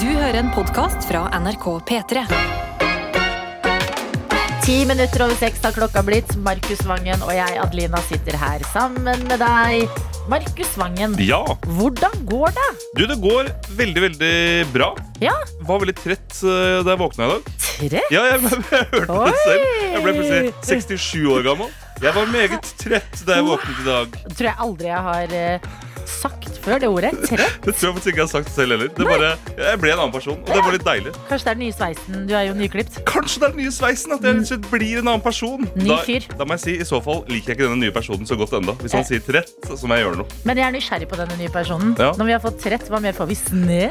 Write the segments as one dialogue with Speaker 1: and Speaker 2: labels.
Speaker 1: Du hører en podkast fra NRK P3.
Speaker 2: Ti minutter over seks har klokka blitt. Markus Vangen og jeg, Adelina, sitter her sammen med deg. Markus Vangen,
Speaker 3: Ja.
Speaker 2: hvordan går det?
Speaker 3: Du, det går veldig, veldig bra.
Speaker 2: Ja.
Speaker 3: Var veldig trett eh, da jeg våkna i dag.
Speaker 2: Tre?
Speaker 3: Ja, jeg, jeg, hørte
Speaker 2: Oi.
Speaker 3: det selv. Jeg ble plutselig 67 år gammel. Jeg var meget trett da jeg våknet i dag.
Speaker 2: Det tror jeg aldri jeg har eh, sagt før, det ordet. Tre?
Speaker 3: Det tror jeg faktisk ikke jeg har sagt selv heller. Det bare, jeg ble en annen person, og det var litt deilig.
Speaker 2: Kanskje det er den nye sveisen. Du er jo nyklipt.
Speaker 3: Kanskje det er den nye sveisen? At jeg rett og slett blir en annen person.
Speaker 2: Ny
Speaker 3: Da,
Speaker 2: fyr.
Speaker 3: da må jeg si, I så fall liker jeg ikke denne nye personen så godt ennå. Hvis han sier trett, så må jeg gjøre noe.
Speaker 2: Men jeg er nysgjerrig på denne nye personen.
Speaker 3: Ja.
Speaker 2: Når vi har fått trett, hva mer får vi? Snø?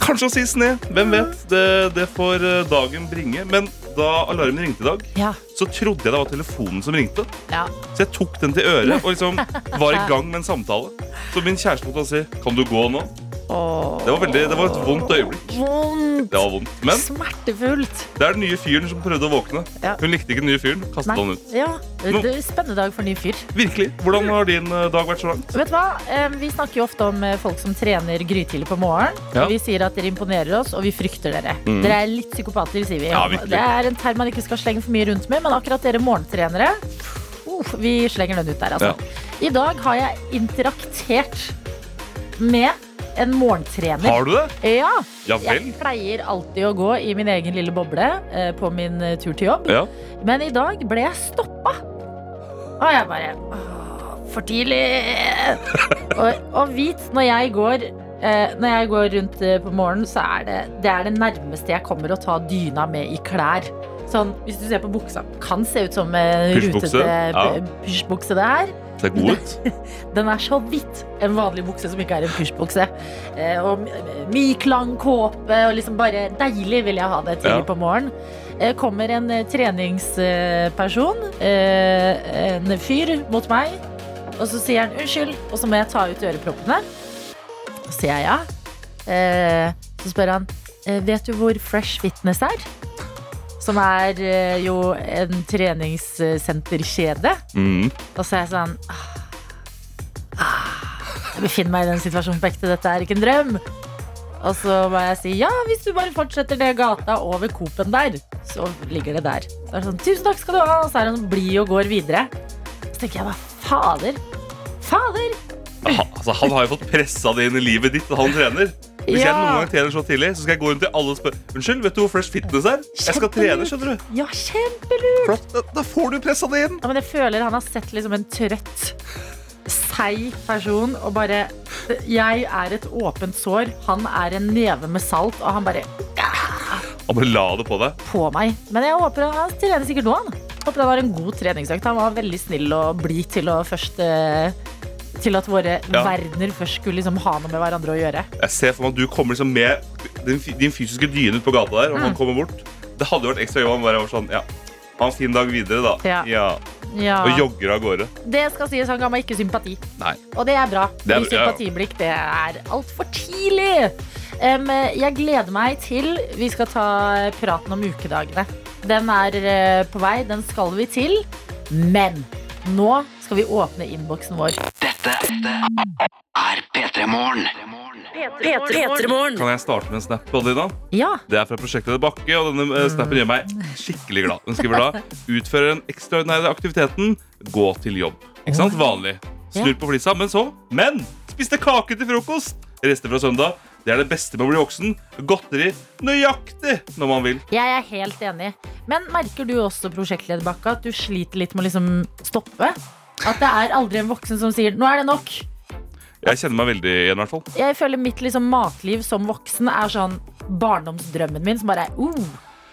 Speaker 3: Kanskje han sier sne. Hvem vet? Det, det får eh, dagen bringe. Men da alarmen ringte i dag,
Speaker 2: Ja.
Speaker 3: så trodde jeg det var telefonen som ringte.
Speaker 2: ja.
Speaker 3: Så jeg tok den til øret og liksom var i gang med en samtale. Så min kjæreste måtte si 'Kan du gå nå?'
Speaker 2: Åh,
Speaker 3: Det var, veldig, det var et vondt øyeblikk.
Speaker 2: vondt.
Speaker 3: Det var vondt. Men
Speaker 2: Smertefullt.
Speaker 3: det er den nye fyren som prøvde å våkne.
Speaker 2: Ja.
Speaker 3: Hun likte ikke den nye fyren. Kastet han ut.
Speaker 2: Ja.
Speaker 3: Nå-
Speaker 2: Det er Spennende dag for ny fyr.
Speaker 3: Virkelig. Hvordan har din eh, dag vært så langt?
Speaker 2: Vet du hva? Eh, Vi snakker jo ofte om eh, folk som trener grytidlig på morgenen.
Speaker 3: Ja.
Speaker 2: Vi sier at dere imponerer oss, og vi frykter dere.
Speaker 3: Mm.
Speaker 2: Dere er litt psykopater, sier vi.
Speaker 3: Ja, virkelig.
Speaker 2: det er en term man ikke skal slenge for mye rundt med, men akkurat dere morgentrenere, uff, vi slenger den ut der, altså. I dag har jeg interaktert med en morgentrener.
Speaker 3: Har du det?
Speaker 2: Ja,
Speaker 3: Ja
Speaker 2: jeg
Speaker 3: vel.
Speaker 2: pleier alltid å gå i min egen lille boble eh, på min eh, tur til jobb.
Speaker 3: Ja.
Speaker 2: Men i dag ble jeg stoppa. Og jeg bare «Åh, For tidlig! og, og vit, når jeg går eh, Når jeg går rundt eh, på morgenen, så er det det, er det nærmeste jeg kommer å ta dyna med i klær. Sånn, Hvis du ser på buksa, kan se ut som eh,
Speaker 3: Pysjbukse,
Speaker 2: rutete
Speaker 3: ja.
Speaker 2: eh, pysjbukse det er.
Speaker 3: Ser god ut.
Speaker 2: Den er så vidt en vanlig bukse som ikke er en pysjbukse. Eh, og my- myk, lang kåpe og liksom bare deilig vil jeg ha det tidlig
Speaker 3: Ja.
Speaker 2: på morgenen. Eh, kommer en eh, treningsperson, eh, en fyr, mot meg. Og så sier han unnskyld, og så må jeg ta ut øreproppene. Så sier jeg ja. Eh, så spør han eh, vet du hvor Fresh Fitness er? Som er eh, jo en treningssenterkjede.
Speaker 3: Mm.
Speaker 2: Og så er jeg sånn ah, ah, Jeg befinner meg i den situasjonen på ekte. Dette er ikke en drøm. Og så må jeg si ja, hvis du bare fortsetter ned gata over Coop-en der, så ligger det der. Så er det sånn, tusen takk skal du ha, og så er han blid og går videre. Så tenker jeg bare, fader, fader.
Speaker 3: Ha, altså, han har jo fått pressa det inn i livet ditt, han trener. Hvis jeg
Speaker 2: Ja.
Speaker 3: noen gang trener så tidlig, så skal jeg gå rundt til alle og spørre Unnskyld, vet du hvor Fresh Fitness er? Jeg skal trene, skjønner du.
Speaker 2: Ja, kjempelurt.
Speaker 3: Flott. Da, da får du pressa det inn.
Speaker 2: Ja, men jeg føler han har sett liksom en trøtt, seig person og bare Jeg er et åpent sår, han er en neve med salt, og han bare
Speaker 3: Han bare la det på deg.
Speaker 2: på meg. Men jeg håper han trener sikkert nå. Han. Håper det var en god treningsøkt. Han var veldig snill og blid til å først eh, Til at våre
Speaker 3: Ja.
Speaker 2: verdener først skulle liksom ha noe med hverandre å gjøre.
Speaker 3: Jeg ser for meg at du kommer liksom med din, fy- din fysiske dyne ut på gata der, og
Speaker 2: Mm.
Speaker 3: han kommer bort. Det hadde vært ekstra jobb om han bare var sånn, ja, ha en fin dag videre da.
Speaker 2: Ja. Ja.
Speaker 3: Og jogger av gårde.
Speaker 2: Det skal sies, han ga meg ikke sympati.
Speaker 3: Nei.
Speaker 2: Og det er bra.
Speaker 3: Det er-
Speaker 2: Ny sympatiblikk, det er altfor tidlig. Em, jeg gleder meg til vi skal ta eh, praten om ukedagene. Den er eh, på vei, den skal vi til. Men nå skal vi åpne innboksen vår.
Speaker 4: Dette er P3 Morgen.
Speaker 3: Kan jeg starte med en snap, Adelina?
Speaker 2: Ja,
Speaker 3: Det er fra prosjektet til Bakke, og denne eh, snappen gjør meg skikkelig glad. Den skriver da, utfører den ekstraordinære aktiviteten, gå til jobb. Ikke sant? Vanlig. Snur på flisa, men så, men, spiste kake til frokost. Rester fra søndag. Det er det beste med å bli voksen. Godteri nøyaktig når man vil.
Speaker 2: Jeg er helt enig. Men merker du også, prosjektleder Bakke, at du sliter litt med å liksom stoppe? At det er aldri en voksen som sier 'nå er det nok'.
Speaker 3: Jeg kjenner meg veldig igjen i hvert fall.
Speaker 2: Jeg føler mitt liksom matliv som voksen er sånn barndomsdrømmen min som bare er uh,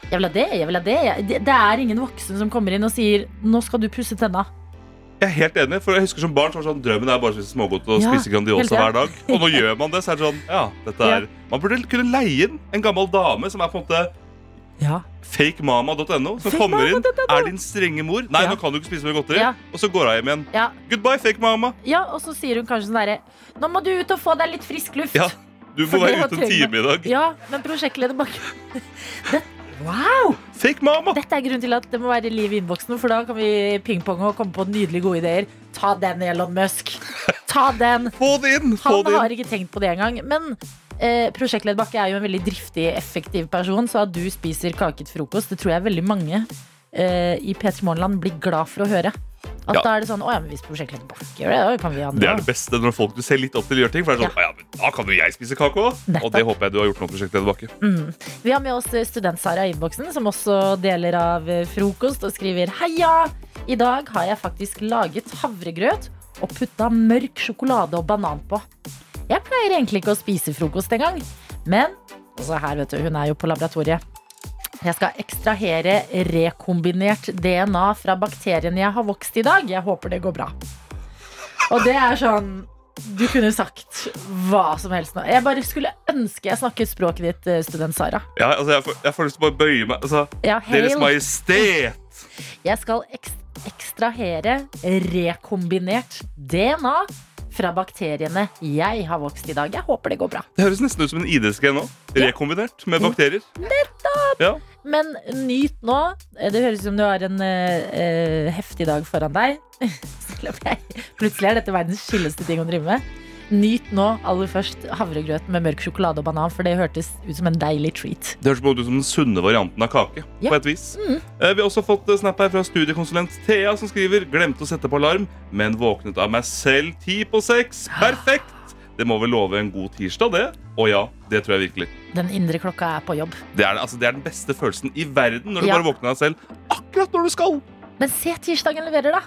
Speaker 2: jeg vil ha det, jeg vil ha det. Jeg- Det det er ingen voksen som kommer inn og sier 'nå skal du pusse tenna'.
Speaker 3: Jeg er helt enig, for jeg husker som barn så var det sånn Drømmen er bare å spise smågodt og
Speaker 2: Ja,
Speaker 3: spise Grandiosa
Speaker 2: helt enig.
Speaker 3: hver dag. Og nå gjør man det, så er det sånn Ja, dette er Man burde kunne leie inn en gammel dame som er på en måte
Speaker 2: Ja.
Speaker 3: fakemama.no, som
Speaker 2: Fake
Speaker 3: kommer inn,
Speaker 2: mama.no.
Speaker 3: er din strenge mor. Nei,
Speaker 2: Ja.
Speaker 3: nå kan du ikke spise mer godteri.
Speaker 2: Ja.
Speaker 3: Og så går hun hjem igjen.
Speaker 2: Ja,
Speaker 3: Goodbye, fake mama.
Speaker 2: Og så sier hun kanskje sånn derre 'nå må du ut og få deg litt frisk luft'.
Speaker 3: Ja, du
Speaker 2: For
Speaker 3: må være
Speaker 2: det
Speaker 3: ute en
Speaker 2: trenger
Speaker 3: time i dag.
Speaker 2: Ja, men prosjektleder Bakke Det- Wow!
Speaker 3: Fake mama!
Speaker 2: Dette er grunnen til at det må være liv i innboksen, for da kan vi pingponge og komme på nydelige gode ideer. Ta den, Elon Musk. Ta den.
Speaker 3: Få det inn!
Speaker 2: Han
Speaker 3: Få det
Speaker 2: har
Speaker 3: inn.
Speaker 2: ikke tenkt på det engang. Men eh, prosjektleder Bakke er jo en veldig driftig, effektiv person, så at du spiser kake til frokost, det tror jeg veldig mange eh, i P3 Morgenland blir glad for å høre. At
Speaker 3: Ja.
Speaker 2: da er det sånn Å ja, men hvis prosjektleder Bakke gjør det, da kan vi andre
Speaker 3: Det er
Speaker 2: også».
Speaker 3: det beste når folk du ser litt opp til, gjør ting. For det er sånn,
Speaker 2: Ja.
Speaker 3: «Å ja, men Da kan jo jeg spise kake òg! Og
Speaker 2: Nettopp.
Speaker 3: det håper jeg du har gjort nå, prosjektleder Bakke.
Speaker 2: Mm. Vi har med oss student-Sara i innboksen, som også deler av eh, frokost og skriver Heia! I dag har jeg faktisk laget havregrøt og putta mørk sjokolade og banan på. Jeg pleier egentlig ikke å spise frokost engang, men altså her, vet du, hun er jo på laboratoriet. Jeg skal ekstrahere rekombinert DNA fra bakteriene jeg har vokst i dag. Jeg håper det går bra. Og det er sånn Du kunne sagt hva som helst nå. Jeg bare skulle ønske jeg snakket språket ditt, eh, student Sara.
Speaker 3: Ja, altså, jeg, får, jeg får lyst til å bare bøye meg. Altså,
Speaker 2: Ja,
Speaker 3: Deres
Speaker 2: hail.
Speaker 3: Majestet!
Speaker 2: Jeg skal eks ekstrahere rekombinert DNA fra bakteriene jeg har vokst i dag. Jeg håper det går bra.
Speaker 3: Det høres nesten ut som en ID-skann nå. Rekombinert med bakterier.
Speaker 2: Mm.
Speaker 3: Ja.
Speaker 2: Men nyt nå. Det høres ut som du har en eh, eh, heftig dag foran deg. Selv om jeg- Plutselig er dette verdens chilleste ting å drive med. Nyt nå aller først havregrøt med mørk sjokolade og banan, for det hørtes ut som en deilig treat.
Speaker 3: Det høres på en måte ut som den sunne varianten av kake.
Speaker 2: Ja. Mm.
Speaker 3: på et vis. Eh, Vi har også fått eh, snap her fra studiekonsulent Thea, som skriver Glemte å sette på alarm, men våknet av meg selv ti på seks.
Speaker 2: Ah.
Speaker 3: Perfekt! Det må vel love en god tirsdag, det? Og ja, det tror jeg virkelig.
Speaker 2: Den indre klokka er på jobb.
Speaker 3: Det er, altså, det er den beste følelsen i verden når du
Speaker 2: Ja.
Speaker 3: bare våkner av deg selv akkurat når du skal.
Speaker 2: Men se tirsdagen leverer, da.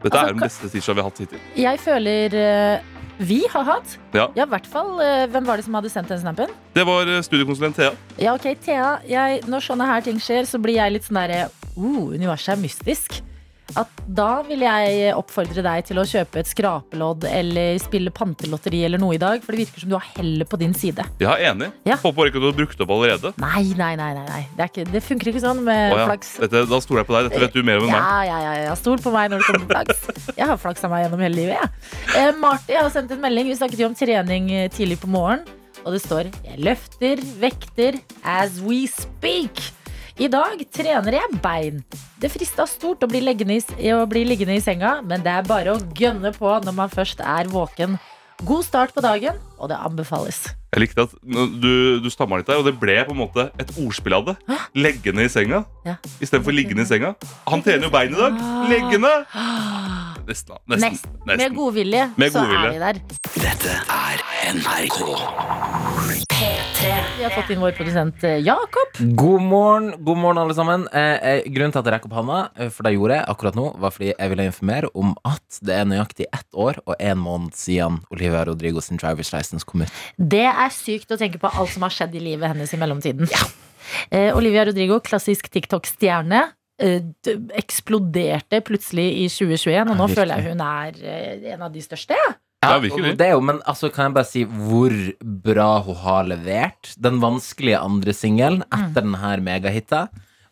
Speaker 3: Dette
Speaker 2: Altså,
Speaker 3: er den
Speaker 2: ka-
Speaker 3: beste tirsdagen vi har hatt hittil.
Speaker 2: Jeg føler eh, vi har hatt.
Speaker 3: Ja.
Speaker 2: i hvert fall. eh, hvem var det som hadde sendt den snappen?
Speaker 3: Det var eh, studiekonsulent Thea.
Speaker 2: Ja, ok, Thea, jeg, når sånne her ting skjer, så blir jeg litt sånn derre uh, Universet er mystisk. At da vil jeg oppfordre deg til å kjøpe et skrapelodd eller spille pantelotteri eller noe i dag, for det virker som du har hellet på din side.
Speaker 3: Ja, enig.
Speaker 2: Ja.
Speaker 3: Håper bare ikke at du har brukt opp allerede.
Speaker 2: Nei, nei, nei. nei, nei. Det, er ikke, det funker ikke sånn med
Speaker 3: Å ja.
Speaker 2: flaks.
Speaker 3: Dette, da stoler jeg på deg. Dette vet du mer om enn meg.
Speaker 2: Ja, ja, ja, ja. Stol på meg når det kommer til flaks. Jeg har flaksa meg gjennom hele livet. Jeg. Eh, Marty har sendt en melding. Vi snakket jo om trening eh, tidlig på morgenen. Og det står 'Jeg løfter vekter as we speak'. I dag trener jeg bein. Det frista stort å bli, liggende i, s- å bli liggende i senga, men det er bare å gønne på når man først er våken. God start på dagen, og det anbefales.
Speaker 3: Jeg likte at du, du stamma litt der, og det ble på en måte et ordspill av det. Leggende i senga
Speaker 2: Ja.
Speaker 3: istedenfor liggende i senga. Han trener jo bein i dag. Leggende! Nesten. da. Nesten.
Speaker 2: Nesten. Med
Speaker 3: Nesten.
Speaker 2: godvilje,
Speaker 3: Med
Speaker 2: så
Speaker 3: godvilje.
Speaker 2: er vi der.
Speaker 4: Dette er NRK.
Speaker 2: Vi har fått inn vår produsent eh, Jakob.
Speaker 5: God morgen, god morgen alle sammen. Eh, eh, grunnen til at jeg rekker opp handa, eh, for det gjorde jeg akkurat nå, var fordi jeg ville informere om at det er nøyaktig ett år og én måned siden Olivia Rodrigo sin driver's license kom ut.
Speaker 2: Det er sykt å tenke på alt som har skjedd i livet hennes i mellomtiden. Eh, Olivia Rodrigo, klassisk TikTok-stjerne, eh, d- eksploderte plutselig i 2021, og nå
Speaker 5: Ja, virkelig.
Speaker 2: føler jeg hun er eh, en av de største. ja.
Speaker 3: Ja,
Speaker 5: og
Speaker 3: virkelig.
Speaker 5: det er jo, men altså, kan jeg bare si hvor bra hun har levert? Den vanskelige andre singelen
Speaker 2: Mm.
Speaker 5: etter denne megahitta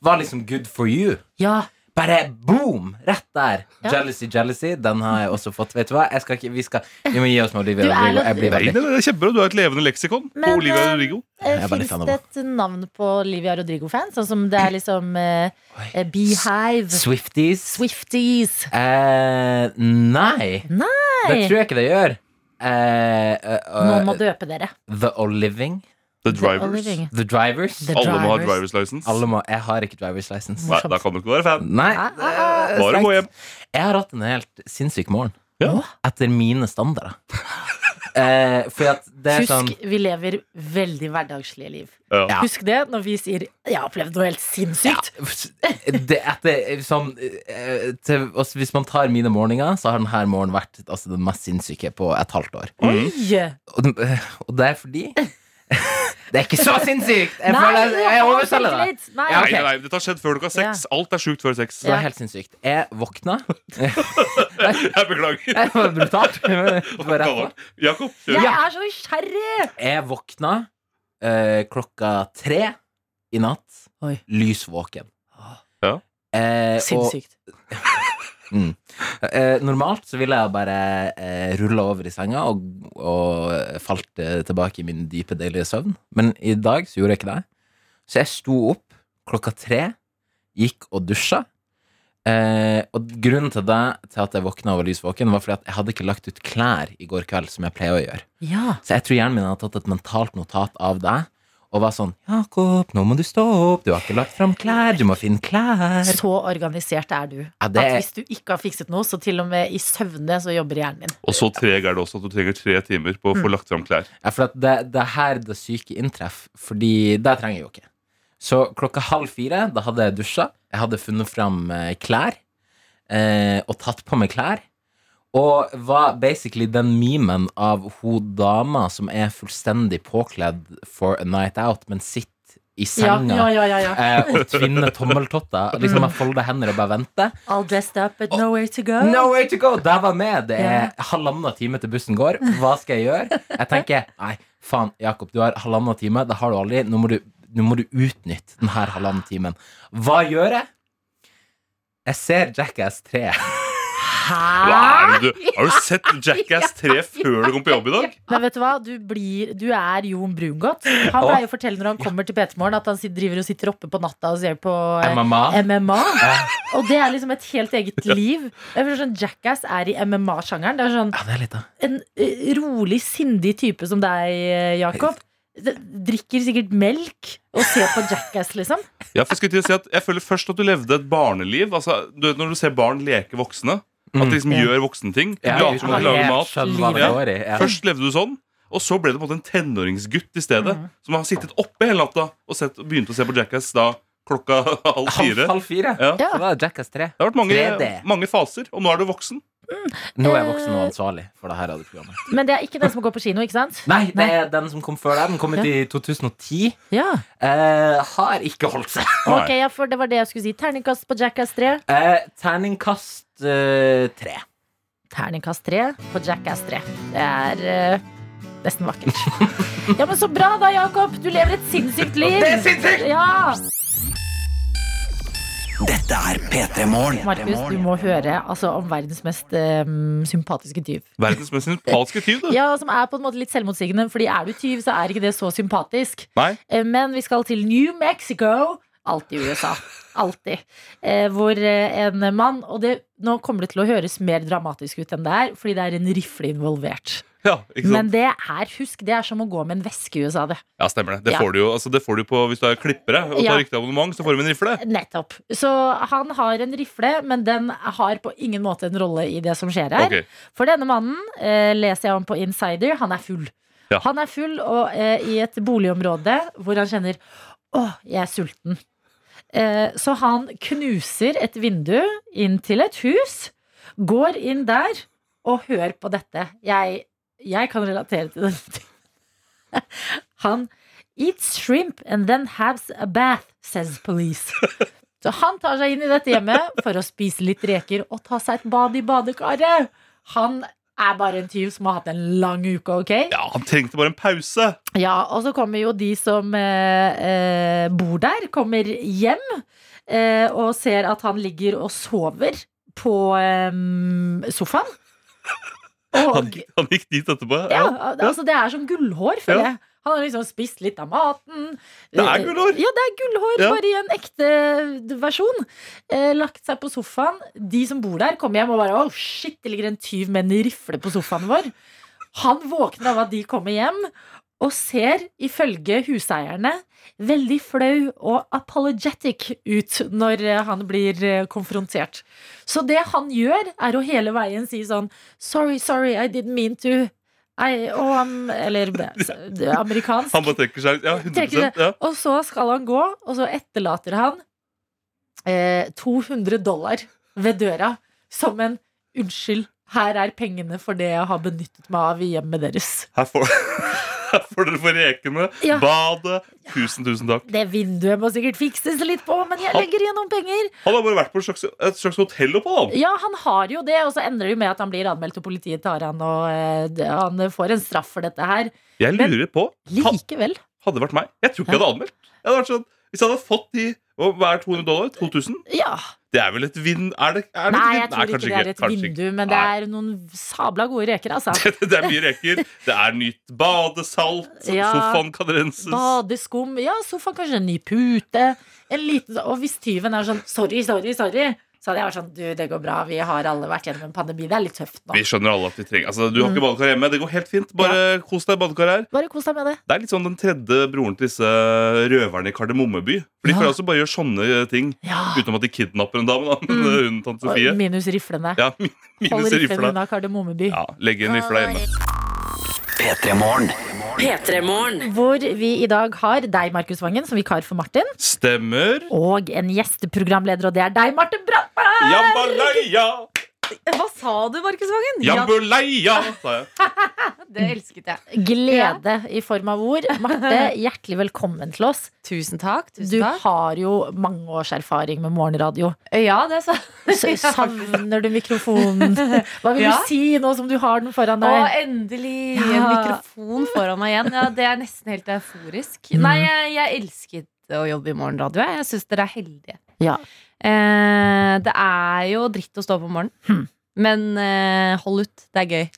Speaker 5: var liksom good for you.
Speaker 2: Ja,
Speaker 5: Bare boom! Rett der.
Speaker 2: Ja.
Speaker 5: Jealousy, jealousy. Den har jeg også fått. Vet du hva? Jeg skal ikke, vi, skal, vi må gi oss med Olivia
Speaker 2: Du er
Speaker 5: Rodrigo. Jeg
Speaker 3: Nei,
Speaker 5: blir veldig
Speaker 3: det er kjempebra. Du har et levende leksikon på
Speaker 2: Men,
Speaker 3: Olivia
Speaker 2: eh,
Speaker 3: Rodrigo.
Speaker 2: eh,
Speaker 5: Jeg er bare
Speaker 2: Fins
Speaker 5: fan av
Speaker 2: det et navn på Olivia Rodrigo-fan? Sånn som det er liksom eh,
Speaker 5: Oi.
Speaker 2: eh, Beehive,
Speaker 5: Swifties.
Speaker 2: Swifties
Speaker 5: Eh, nei. Det tror jeg ikke det gjør. Eh, eh,
Speaker 2: Noen må
Speaker 5: eh,
Speaker 2: døpe dere.
Speaker 5: the All Living.
Speaker 3: The Drivers.
Speaker 2: Olivia.
Speaker 5: The Drivers.
Speaker 2: The
Speaker 3: Alle må ha
Speaker 2: Drivers.
Speaker 3: drivers license.
Speaker 5: Alle må, jeg har ikke driver's license.
Speaker 3: Nei, da kan du ikke være fan.
Speaker 5: Nei.
Speaker 2: Ah, ah,
Speaker 5: det er
Speaker 3: Bare må
Speaker 5: strengt.
Speaker 3: hjem.
Speaker 5: Jeg har hatt en helt sinnssyk morgen.
Speaker 3: Ja.
Speaker 5: Etter mine standarder. eh, fordi at det er
Speaker 2: Husk,
Speaker 5: sånn
Speaker 2: vi lever veldig hverdagslige liv.
Speaker 3: Ja.
Speaker 5: Ja.
Speaker 2: Husk det når vi sier 'jeg har opplevd noe helt sinnssykt'.
Speaker 5: det, etter, sånn, eh, til, altså, Hvis man tar mine morgener, så har denne morgenen vært altså, den mest sinnssyke på et halvt år.
Speaker 3: Mm.
Speaker 2: Oi!
Speaker 5: Og, den- og det er fordi Det er ikke så sinnssykt! Jeg, føler, jeg, jeg
Speaker 2: har
Speaker 5: overselger det.
Speaker 2: selvtillit. Nei.
Speaker 5: Ja,
Speaker 3: Nei,
Speaker 5: ok.
Speaker 3: nei, nei, dette har skjedd før klokka seks. Alt er sjukt før seks.
Speaker 5: Det var helt sinnssykt. Jeg våkna.
Speaker 3: Jeg beklager.
Speaker 5: Det var brutalt. Det var rett på.
Speaker 3: Jakob, kjør.
Speaker 2: Jeg er så nysgjerrig!
Speaker 5: Jeg våkna eh, klokka tre i natt,
Speaker 2: Oi.
Speaker 5: lysvåken.
Speaker 3: Ja.
Speaker 5: Eh, og
Speaker 2: Sinnssykt.
Speaker 5: eh, normalt så ville jeg bare eh, rulla over i senga og, og falt eh, tilbake i min dype, deilige søvn. Men i dag så gjorde jeg ikke det. Så jeg sto opp klokka tre, gikk og dusja. Eh, og grunnen til det, til at jeg våkna og var lysvåken, var fordi at jeg hadde ikke lagt ut klær i går kveld, som jeg pleier å gjøre.
Speaker 2: Ja.
Speaker 5: Så jeg tror hjernen min har tatt et mentalt notat av deg. Og var sånn Jakob, nå må du stå opp. Du har ikke lagt fram klær. Du må finne klær.
Speaker 2: Så organisert er du.
Speaker 5: Ja, det-
Speaker 2: At hvis du ikke har fikset noe, så til og med i søvne så jobber hjernen din.
Speaker 3: Og så treg er det også at du trenger tre timer på å få lagt fram klær.
Speaker 5: Ja, for at det, det er her det syke inntreffer, fordi det trenger jeg jo ikke. Så klokka halv fire, da hadde jeg dusja, jeg hadde funnet fram eh, klær, eh, og tatt på meg klær, og var basically den memen av ho dama som er fullstendig påkledd for a night out, men sitter
Speaker 2: Ja,
Speaker 5: i senga.
Speaker 2: ja, ja, ja, ja.
Speaker 5: Eh, og tvinne tommeltotter. og Liksom jeg folder hender og bare venter.
Speaker 2: All dressed up, but nowhere to go.
Speaker 5: Nowhere to go! Der var med! Det er halvannen time til bussen går. Hva skal jeg gjøre? Jeg tenker nei, faen, Jakob, du har halvannen time. Det har du aldri. Nå må du, nå må du utnytte denne halvannen timen. Hva gjør jeg? Jeg ser Jackass 3.
Speaker 3: Hva
Speaker 2: Hæ?
Speaker 3: er det du, har du sett Jackass 3 før du kom på jobb i dag?
Speaker 2: Men vet du hva? Du, blir, du er Jon Brungot. Han
Speaker 5: Å.
Speaker 2: pleier å fortelle når han kommer til PT-morgen at han sit- driver og sitter oppe på natta og ser på eh,
Speaker 5: MMA.
Speaker 2: MMA. Og det er liksom et helt eget liv. Jeg føler sånn Jackass er i MMA-sjangeren. Det er sånn
Speaker 5: Ja, det er litt, da.
Speaker 2: en eh, rolig, sindig type som deg, eh, Jakob. D- Drikker sikkert melk og ser på Jackass, liksom.
Speaker 3: Ja, for jeg, skulle til å si at jeg føler først at du levde et barneliv. Altså, du vet Når du ser barn leke voksne. At de liksom
Speaker 2: Ja.
Speaker 3: gjør voksenting.
Speaker 5: Ja,
Speaker 3: Later som om de lager mat.
Speaker 5: skjønner hva det
Speaker 3: Ja.
Speaker 5: går i. Ja.
Speaker 3: Først levde du sånn, og så ble det på en måte en tenåringsgutt i stedet. Som har sittet oppe hele natta og sett, begynte å se på Jackass da klokka halv
Speaker 5: Halv,
Speaker 3: fire.
Speaker 5: halv fire.
Speaker 3: Ja.
Speaker 5: Så var det Jackass 3.
Speaker 3: Det har vært mange,
Speaker 5: 3D.
Speaker 3: mange faser, og nå er du voksen.
Speaker 5: Nå er jeg voksen og ansvarlig for det her radioprogrammet.
Speaker 2: Men det er ikke den som går på kino, ikke sant?
Speaker 5: Nei, det er den som kom før deg. Den kom ut i 2010.
Speaker 2: Ja.
Speaker 5: Eh, har ikke holdt seg.
Speaker 2: Ok, ja, for det var det jeg skulle si. Terningkast på Jackass 3.
Speaker 5: Eh, terningkast eh, tre.
Speaker 2: Terningkast 3 på Jackass 3. Det er eh, nesten vakkert. ja, men så bra da, Jakob! Du lever et sinnssykt liv. Det er sinnssykt! Ja!
Speaker 4: Dette er P3 Morgen.
Speaker 2: Markus, du må høre altså, om verdens mest eh, sympatiske tyv.
Speaker 3: Verdens mest sympatiske tyv, du.
Speaker 2: Ja, Som er på en måte litt selvmotsigende, Fordi er du tyv, så er ikke det så sympatisk.
Speaker 3: Nei.
Speaker 2: Eh, Men vi skal til New Mexico. Alltid USA. Alltid. Eh, hvor eh, en mann Og det, nå kommer det til å høres mer dramatisk ut enn det er, fordi det er en rifle involvert.
Speaker 3: Ja, ikke sant?
Speaker 2: Men det er, husk, det er som å gå med en veske i USA, det.
Speaker 3: Ja, stemmer det. Det
Speaker 2: Ja.
Speaker 3: får du jo altså, det får du på hvis du er klippere og
Speaker 2: Ja.
Speaker 3: tar riktig abonnement. Så får du med en rifle.
Speaker 2: Nettopp. Så han har en rifle, men den har på ingen måte en rolle i det som skjer her.
Speaker 3: Ok.
Speaker 2: For denne mannen, eh, leser jeg om på Insider, han er full.
Speaker 3: Ja.
Speaker 2: Han er full og eh, i et boligområde hvor han kjenner Å, jeg er sulten. Eh, så han knuser et vindu inn til et hus, går inn der, og hør på dette. Jeg, jeg kan relatere til dette. Han eats shrimp and then has a bath, says police. Så han tar seg inn i dette hjemmet for å spise litt reker og ta seg et bad i badekaret. Han er bare en tyv som har hatt en lang uke, ok?
Speaker 3: Ja, han trengte bare en pause.
Speaker 2: Ja, og så kommer jo de som eh, eh, bor der, kommer hjem eh, og ser at han ligger og sover på eh, sofaen.
Speaker 3: Han,
Speaker 2: Og
Speaker 3: han gikk dit etterpå.
Speaker 2: ja, al- altså det er som gullhår, føler
Speaker 3: Ja.
Speaker 2: jeg. Han har liksom spist litt av maten.
Speaker 3: Det er gullhår.
Speaker 2: Ja, det er gullhår,
Speaker 3: Ja.
Speaker 2: bare i en ekte versjon. Eh, lagt seg på sofaen. De som bor der, kommer hjem og bare Å, shit, det ligger en tyv med en rifle på sofaen vår. Han våkner av at de kommer hjem, og ser ifølge huseierne veldig flau og apologetic ut når eh, han blir eh, konfrontert. Så det han gjør, er å hele veien si sånn Sorry, sorry, I didn't mean to. I, og han, eller eh, amerikansk.
Speaker 3: Han bare trekker seg ut. Ja, 100
Speaker 2: Trekker
Speaker 3: ja.
Speaker 2: Og så skal han gå, og så etterlater han eh, 200 dollar ved døra som en unnskyld. Her er pengene for det jeg har benyttet meg av i hjemmet deres.
Speaker 3: Her får, her får dere for rekene,
Speaker 2: Ja.
Speaker 3: badet. Tusen, tusen takk.
Speaker 2: Det vinduet må sikkert fikses litt på, men jeg legger igjen noen penger.
Speaker 3: Han har bare vært på et slags, et slags hotellopphold.
Speaker 2: Ja, han har jo det, og så ender det jo med at han blir anmeldt, og politiet tar han, og eh, det- han får en straff for dette her.
Speaker 3: Jeg lurer på ha,
Speaker 2: Likevel.
Speaker 3: Hadde det vært meg, jeg tror ikke jeg hadde anmeldt. Jeg hadde vært sånn, hvis jeg hadde fått de og hva er 200 dollar? 2000?
Speaker 2: Ja.
Speaker 3: Det er vel et vind... Er det, er det et
Speaker 2: Nei,
Speaker 3: vind-
Speaker 2: jeg tror ikke
Speaker 3: kanskje
Speaker 2: det er et
Speaker 3: kanskje
Speaker 2: vindu, men det
Speaker 3: Nei.
Speaker 2: er noen sabla gode reker, altså.
Speaker 3: det er mye reker. Det er nytt badesalt.
Speaker 2: Ja.
Speaker 3: Sofaen kan renses.
Speaker 2: Badeskum, ja, sofaen, kanskje en ny pute. En liten, og hvis tyven er sånn 'sorry, sorry, sorry', Så hadde jeg vært sånn Du, det går bra. Vi har alle vært gjennom en pandemi. Det er litt tøft nå.
Speaker 3: Vi skjønner alle at vi trenger Altså, Du har
Speaker 2: Mm.
Speaker 3: ikke badekar hjemme. Det går helt fint. Bare kos deg i badekar her.
Speaker 2: Bare kos deg med det.
Speaker 3: Det er litt sånn den tredje broren til disse røverne i Kardemommeby. For de
Speaker 2: Ja.
Speaker 3: kan jo også bare gjøre sånne ting.
Speaker 2: Ja.
Speaker 3: Utenom at de kidnapper en dame, da. Men
Speaker 2: Mm.
Speaker 3: eh, hun tante Sofie.
Speaker 2: Og Minus riflene.
Speaker 3: Ja, min-
Speaker 2: Hold
Speaker 3: minus
Speaker 2: riflene
Speaker 3: rifla.
Speaker 2: unna Kardemommeby.
Speaker 3: Ja, legg inn rifla hjemme.
Speaker 4: P3 Morgen.
Speaker 6: P3-morgen.
Speaker 2: Hvor vi i dag har deg, Markus Vangen, som vikar for Martin.
Speaker 3: Stemmer.
Speaker 2: Og en gjesteprogramleder, og det er deg, Martin Brattberg!
Speaker 3: Jambalaya!
Speaker 7: Hva sa du, Markus Vangen?
Speaker 3: Jambuleia, sa jeg.
Speaker 7: Det elsket jeg.
Speaker 2: Glede i form av ord. Marte, hjertelig velkommen til oss.
Speaker 7: Tusen takk. Tusen
Speaker 2: Du
Speaker 7: takk.
Speaker 2: har jo mange års erfaring med morgenradio.
Speaker 7: Ja, det sa
Speaker 2: Så savner du mikrofonen? Hva vil
Speaker 7: Ja.
Speaker 2: du si nå som du har den foran
Speaker 7: Å,
Speaker 2: deg?
Speaker 7: endelig! En
Speaker 2: Ja.
Speaker 7: mikrofon foran meg igjen. Ja, det er nesten helt euforisk.
Speaker 2: Mm.
Speaker 7: Nei, jeg, jeg elsket å jobbe i morgenradio. jeg. Jeg syns dere er heldige.
Speaker 2: Ja.
Speaker 7: Eh, det er jo dritt å stå opp om morgenen.
Speaker 2: Hmm.
Speaker 7: Men eh, hold ut. Det er gøy.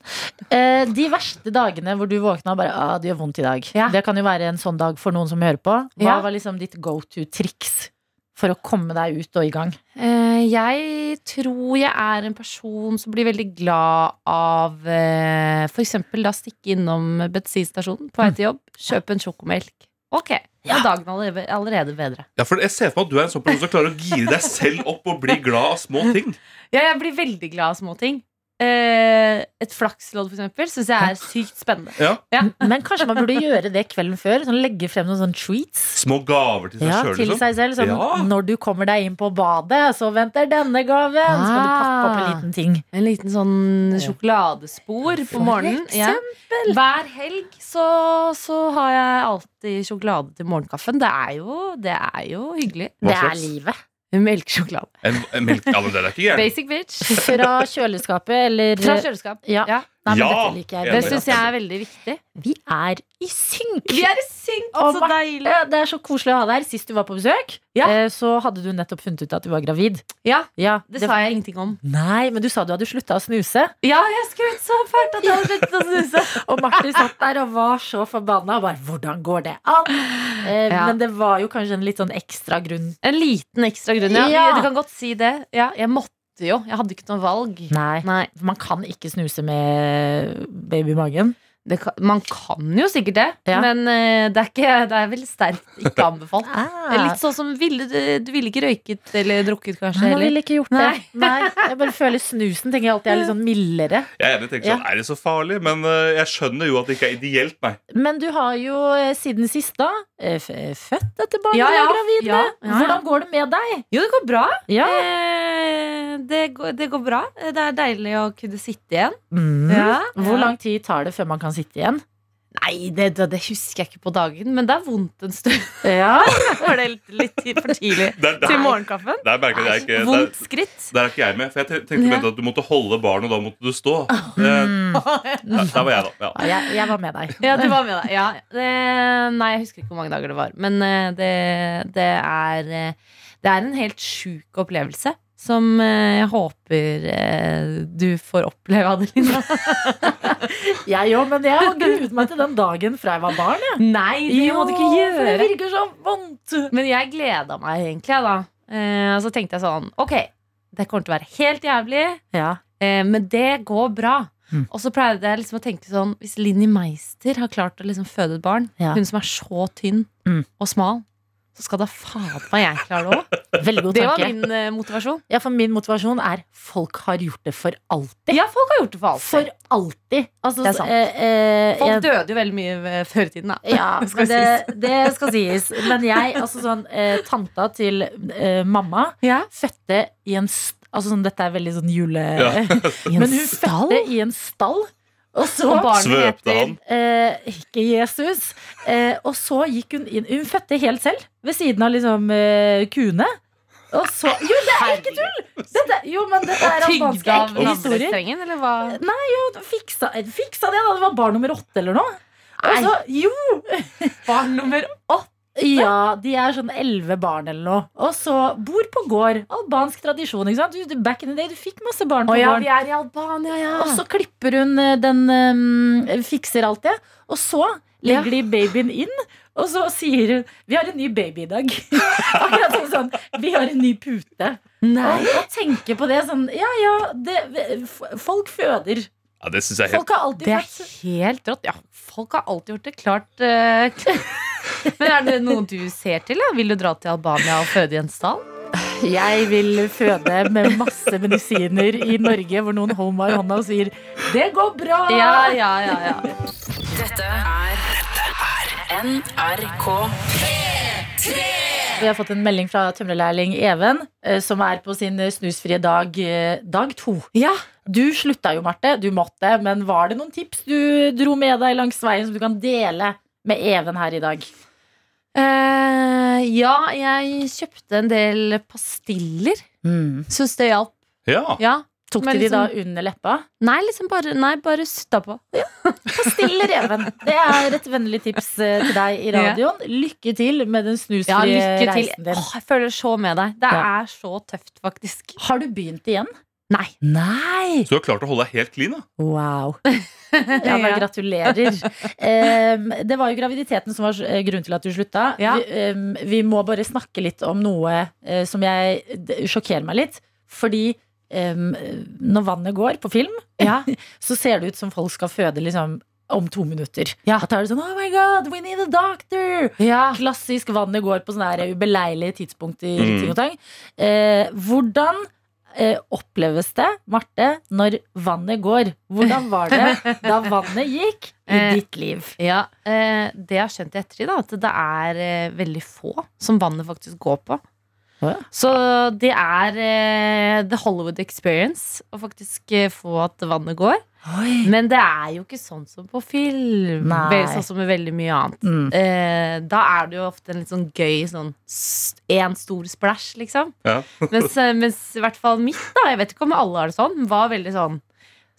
Speaker 2: Eh, de verste dagene hvor du våkna og bare ah, 'det gjør vondt i dag'.
Speaker 7: Ja.
Speaker 2: Det kan jo være en sånn dag for noen som hører på. Hva
Speaker 7: Ja.
Speaker 2: var liksom ditt go to-triks for å komme deg ut og i gang?
Speaker 7: Eh, jeg tror jeg er en person som blir veldig glad av eh, for eksempel da stikke innom bensinstasjonen på vei til jobb, kjøpe en sjokomelk. Ok, da er dagen allerede, allerede bedre.
Speaker 3: Ja, for Jeg ser for meg at du er en sånn person som klarer å gire deg selv opp og bli glad av små ting.
Speaker 7: Ja, jeg blir veldig glad av små ting. Eh, et flakslodd, for eksempel, syns jeg er sykt spennende.
Speaker 3: Ja.
Speaker 2: Men kanskje man burde gjøre det kvelden før? Sånn, legge frem noen sånne treats?
Speaker 3: Små gaver til seg
Speaker 2: Ja,
Speaker 3: sjøl,
Speaker 2: til
Speaker 3: liksom.
Speaker 2: seg selv. Sånn,
Speaker 3: Ja.
Speaker 2: Når du kommer deg inn på badet, så venter denne gaven! Så kan du pakke opp en
Speaker 7: Ah.
Speaker 2: liten ting.
Speaker 7: En liten sånn sjokoladespor på morgenen. Ja. Hver helg så, så har jeg alltid sjokolade til morgenkaffen. Det er jo, det er jo hyggelig.
Speaker 3: Hva
Speaker 2: Det er
Speaker 3: slags?
Speaker 2: livet.
Speaker 7: Melkesjokolade.
Speaker 3: En, en melk, ja, men det er ikke gærent.
Speaker 7: Basic bitch.
Speaker 2: Fra kjøleskapet eller
Speaker 7: Fra kjøleskap.
Speaker 2: Ja. Nei, men
Speaker 3: Ja!
Speaker 2: dette liker jeg.
Speaker 7: Det
Speaker 3: Enig.
Speaker 7: syns jeg er veldig viktig.
Speaker 2: Vi er i synk!
Speaker 7: Vi er i synk!
Speaker 2: Å,
Speaker 7: Så
Speaker 2: Marte.
Speaker 7: deilig.
Speaker 2: Ja, Det er så koselig å ha deg her. Sist du var på besøk,
Speaker 7: Ja.
Speaker 2: eh, så hadde du nettopp funnet ut at du var gravid.
Speaker 7: Ja,
Speaker 2: Ja,
Speaker 7: det sa jeg ingenting om.
Speaker 2: Nei, men du sa du hadde slutta å snuse.
Speaker 7: Ja, jeg skrøt så fælt at jeg hadde sluttet å snuse.
Speaker 2: Og Martin satt der og var så forbanna. Og bare, hvordan går det an? Eh,
Speaker 7: Ja.
Speaker 2: Men det var jo kanskje en litt sånn ekstra grunn.
Speaker 7: En liten ekstra grunn, ja.
Speaker 2: Ja.
Speaker 7: Du kan godt si det. Ja, jeg måtte jo. Jeg hadde ikke noe valg.
Speaker 2: Nei.
Speaker 7: Nei.
Speaker 2: Man kan ikke snuse med baby i magen.
Speaker 7: Det kan, man kan jo sikkert det,
Speaker 2: Ja.
Speaker 7: men eh, det, er ikke, det er veldig sterkt ikke anbefalt. Det er
Speaker 2: Ah.
Speaker 7: litt sånn som ville, du ville ikke røyket eller drukket, kanskje.
Speaker 2: Nei, man
Speaker 7: Eller.
Speaker 2: ville ikke gjort det. Nei, jeg bare føler snusen tenker jeg alltid er litt sånn mildere.
Speaker 3: Jeg er enig, tenker sånn, Er det så farlig? Men eh, jeg skjønner jo at det ikke er ideelt, nei.
Speaker 2: Men du har jo eh, siden sist da eh, f- eh, født dette barnet
Speaker 7: Ja,
Speaker 2: og
Speaker 7: ja.
Speaker 2: er gravid
Speaker 7: Ja,
Speaker 2: med.
Speaker 7: ja, ja.
Speaker 2: Hvordan går det med deg?
Speaker 7: Jo, det går bra.
Speaker 2: Ja.
Speaker 7: Eh, det, går, det går bra. Eh, Det er deilig å kunne sitte igjen.
Speaker 2: Mm. Hvor
Speaker 7: Ja.
Speaker 2: lang tid tar det før man kan sitte igjen?
Speaker 7: Nei, det, det, det husker jeg ikke på dagen, men det er vondt en stund.
Speaker 2: Ja,
Speaker 7: Var det litt, litt for tidlig
Speaker 3: Der,
Speaker 7: til
Speaker 3: der,
Speaker 7: morgenkaffen?
Speaker 3: der merker jeg ikke der,
Speaker 7: Vondt skritt.
Speaker 3: der er ikke jeg med. For jeg te- tenkte
Speaker 7: Ja.
Speaker 3: du mente at du måtte holde barnet, og da måtte du stå. Eh, ja, der var jeg, da. Ja.
Speaker 2: jeg, jeg var med deg.
Speaker 7: Ja, du var med deg. Ja. Det, nei, jeg husker ikke hvor mange dager det var. Men eh, det, det, er, eh, det er en helt sjuk opplevelse. Som eh, jeg håper eh, du får oppleve, Adelina.
Speaker 2: Jeg òg, men jeg har gruet meg til den dagen fra jeg var barn. Jeg.
Speaker 7: Nei,
Speaker 2: Jo, for Det virker så vondt.
Speaker 7: Men jeg gleda meg egentlig, jeg, da. Eh, og så tenkte jeg sånn Ok, det kommer til å være helt jævlig,
Speaker 2: Ja.
Speaker 7: eh, men det går bra.
Speaker 2: Mm.
Speaker 7: Og så pleide jeg liksom å tenke sånn Hvis Linni Meister har klart å liksom føde et barn,
Speaker 2: Ja.
Speaker 7: hun som er så tynn
Speaker 2: Mm.
Speaker 7: og smal, så skal da faen meg jeg klare det òg.
Speaker 2: Veldig god
Speaker 7: Det var
Speaker 2: tanke.
Speaker 7: min eh, motivasjon.
Speaker 2: Ja, for min motivasjon er folk har gjort det for alltid.
Speaker 7: Ja, folk har gjort det for alt.
Speaker 2: For alltid. Altså,
Speaker 7: Det er sant.
Speaker 2: Eh, eh, jeg-
Speaker 7: folk døde jo veldig mye eh, før i tiden, da.
Speaker 2: Ja,
Speaker 7: Det
Speaker 2: men
Speaker 7: skal
Speaker 2: det, det skal sies. Men jeg, altså sånn eh, Tanta til eh, mamma
Speaker 7: Ja.
Speaker 2: fødte i en st Altså sånn, dette er veldig sånn jule...
Speaker 3: Ja.
Speaker 2: Men hun fødte i en stall. Og så
Speaker 7: Og barnet
Speaker 3: Svøpte
Speaker 7: heter
Speaker 3: han.
Speaker 2: Eh, ikke Jesus. Eh, og så gikk hun inn Hun fødte helt selv, ved siden av liksom eh, kuene. Og så Jo, det er ikke tull! Dette, jo, men dette er
Speaker 7: Tygd
Speaker 2: albanske
Speaker 7: av
Speaker 2: ekte historier.
Speaker 7: navlestrengen, eller hva?
Speaker 2: Hun Fiksa, fiksa det, da. Det var barn nummer åtte eller noe. Og så, jo,
Speaker 7: Barn nummer åtte.
Speaker 2: ja, de er sånn elleve barn eller noe. Og så bor på gård. Albansk tradisjon. ikke sant? Du, back in the day, du fikk masse barn på gården.
Speaker 7: er i Albania, ja.
Speaker 2: Og så klipper hun eh, den eh, Fikser alt det. Og så legger de babyen inn, Og så sier hun Vi har en ny baby i dag. Akkurat som sånn Vi har en ny pute. Og jeg tenker på det sånn Ja, ja, det, f- folk føder.
Speaker 3: Ja, det synes jeg er helt
Speaker 2: Folk har alltid
Speaker 7: Det er
Speaker 2: født.
Speaker 7: helt rått. Ja, folk har alltid gjort det klart. eh, Men er det noe du ser til? Da? Vil du dra til Albania og føde i en stall?
Speaker 2: Jeg vil føde med masse medisiner i Norge hvor noen holder meg i hånda og sier 'det går bra'.
Speaker 7: ja, ja, ja.
Speaker 2: Vi har fått en melding fra tømrerlærling Even, eh, som er på sin snusfrie dag, eh, dag to.
Speaker 7: Ja.
Speaker 2: Du slutta jo, Marte. Du måtte. Men var det noen tips du dro med deg langs veien som du kan dele med Even her i dag?
Speaker 7: Eh, ja, jeg kjøpte en del pastiller. Syns det hjalp.
Speaker 3: Ja,
Speaker 7: Ja.
Speaker 2: Tok
Speaker 7: Men
Speaker 2: de de da
Speaker 7: liksom-
Speaker 2: under leppa?
Speaker 7: Nei, liksom bare, nei, bare sutta på.
Speaker 2: Stille reven. Det er et vennlig tips eh, til deg i radioen. Lykke til med den snusfrie
Speaker 7: Ja, lykke til.
Speaker 2: reisen din.
Speaker 7: Åh, jeg føler så med deg. Det
Speaker 2: Ja.
Speaker 7: er så tøft, faktisk.
Speaker 2: Har du begynt igjen?
Speaker 7: Nei.
Speaker 2: Nei!
Speaker 3: Så du har klart å holde deg helt clean, da.
Speaker 2: Wow. Ja, men
Speaker 7: Ja.
Speaker 2: gratulerer. Em, det var jo graviditeten som var eh, grunnen til at du slutta.
Speaker 7: Ja.
Speaker 2: Vi, em, vi må bare snakke litt om noe eh, som jeg det sjokkerer meg litt. Fordi em, når vannet går på film, så ser det ut som folk skal føde liksom, om to minutter.
Speaker 7: Ja.
Speaker 2: At da er det sånn Oh my God, we need a doctor! Klassisk vannet går på sånne her ubeleilige tidspunkt i
Speaker 3: Mm.
Speaker 2: ting og tang. Eh, hvordan eh, oppleves det, Marte, når vannet går? Hvordan var det da vannet gikk i
Speaker 7: Eh.
Speaker 2: ditt liv?
Speaker 7: Ja, eh, Det jeg har skjønt i ettertid, da, at det er eh, veldig få som vannet faktisk går på.
Speaker 2: Å ja.
Speaker 7: Så det er eh, the Hollywood experience å faktisk eh, få at vannet går. Men det er jo ikke sånn som på film.
Speaker 2: Nei.
Speaker 7: Vel, Sånn som med veldig mye annet.
Speaker 2: Mm.
Speaker 7: Eh, da er det jo ofte en litt sånn gøy sånn én stor splæsj, liksom.
Speaker 3: Ja.
Speaker 7: mens, eh, mens i hvert fall mitt, da, jeg vet ikke om alle har det sånn, var veldig sånn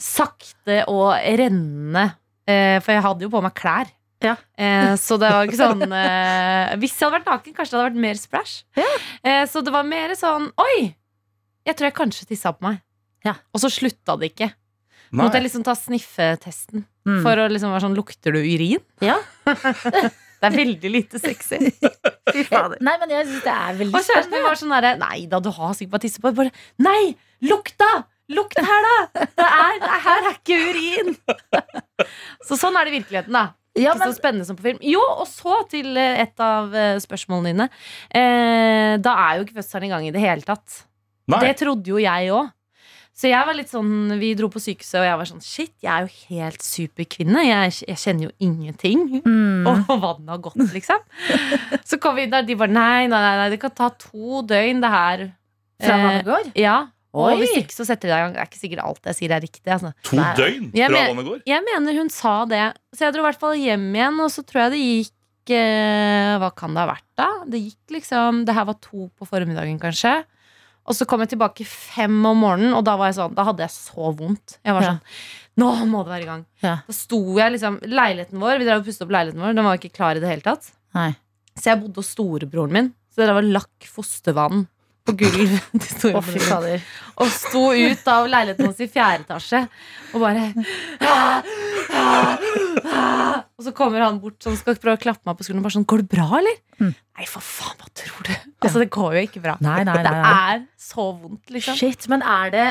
Speaker 7: sakte og rennende. Eh, for jeg hadde jo på meg klær.
Speaker 2: Ja.
Speaker 7: Eh, så det var ikke sånn eh, Hvis jeg hadde vært naken, kanskje det hadde vært mer splæsj. Eh, så det var mer sånn Oi! Jeg tror jeg kanskje tissa på meg.
Speaker 2: Ja.
Speaker 7: Og så slutta det ikke.
Speaker 3: Nei.
Speaker 7: Måtte jeg liksom ta sniffetesten
Speaker 2: Mm.
Speaker 7: for å liksom være sånn Lukter du urin?
Speaker 2: Ja.
Speaker 7: det er veldig lite sexy. Fy fader.
Speaker 2: Eh, Nei, men jeg syns det er
Speaker 7: Og
Speaker 2: veldig
Speaker 7: kjæresten min var sånn derre Nei da, du har sikkert bare tisset på deg. Bare Nei! Lukta! Lukt her, da! Det er, det her er ikke urin! Så sånn er det i virkeligheten, da.
Speaker 2: Ja,
Speaker 7: Ikke
Speaker 2: men,
Speaker 7: så spennende som på film. Jo, og så til eh, et av eh, spørsmålene dine. Eh, da er jo ikke fødselen i gang i det hele tatt.
Speaker 3: Nei.
Speaker 7: Det trodde jo jeg òg. Så jeg var litt sånn, Vi dro på sykehuset, og jeg var sånn Shit, jeg er jo helt superkvinne. Jeg, jeg kjenner jo ingenting.
Speaker 2: mm.
Speaker 7: Og vannet har gått, liksom. Så kom vi inn der, de bare Nei, nei, nei, nei det kan ta to døgn, det her.
Speaker 2: Fra
Speaker 7: Eh,
Speaker 2: vannet går?
Speaker 7: Ja. Og
Speaker 2: Oi.
Speaker 7: hvis ikke, så setter de deg i gang. Det er ikke sikkert alt jeg sier er riktig. altså.
Speaker 3: To
Speaker 2: Nei.
Speaker 3: døgn
Speaker 7: Jeg
Speaker 3: fra
Speaker 7: men-
Speaker 3: vannet går.
Speaker 7: Jeg mener hun sa det. Så jeg dro i hvert fall hjem igjen, og så tror jeg det gikk eh, Hva kan det ha vært, da? Det gikk liksom Det her var to på formiddagen, kanskje. Og så kom jeg tilbake fem om morgenen, og da var jeg sånn Da hadde jeg så vondt. Jeg var
Speaker 2: Ja.
Speaker 7: sånn Nå må det være i gang.
Speaker 2: Ja.
Speaker 7: Da sto jeg liksom Leiligheten vår Vi drev og pusset opp leiligheten vår. Den var ikke klar i det hele tatt.
Speaker 2: Nei.
Speaker 7: Så jeg bodde hos storebroren min. Så det var lakk fostervann på gulvet til
Speaker 2: Å,
Speaker 7: storebroren
Speaker 2: fy
Speaker 7: min
Speaker 2: fader.
Speaker 7: og sto ut av leiligheten hans i fjerde etasje og bare «Ah, ah, ah». Og så kommer han bort som skal prøve å klappe meg på skulderen og bare sånn Går det bra, eller?
Speaker 2: Mm.
Speaker 7: Nei, for faen, hva tror du? Altså, det går jo ikke bra.
Speaker 2: Nei, nei, nei.
Speaker 7: Det
Speaker 2: nei.
Speaker 7: er så vondt, liksom.
Speaker 2: Shit, men, er det,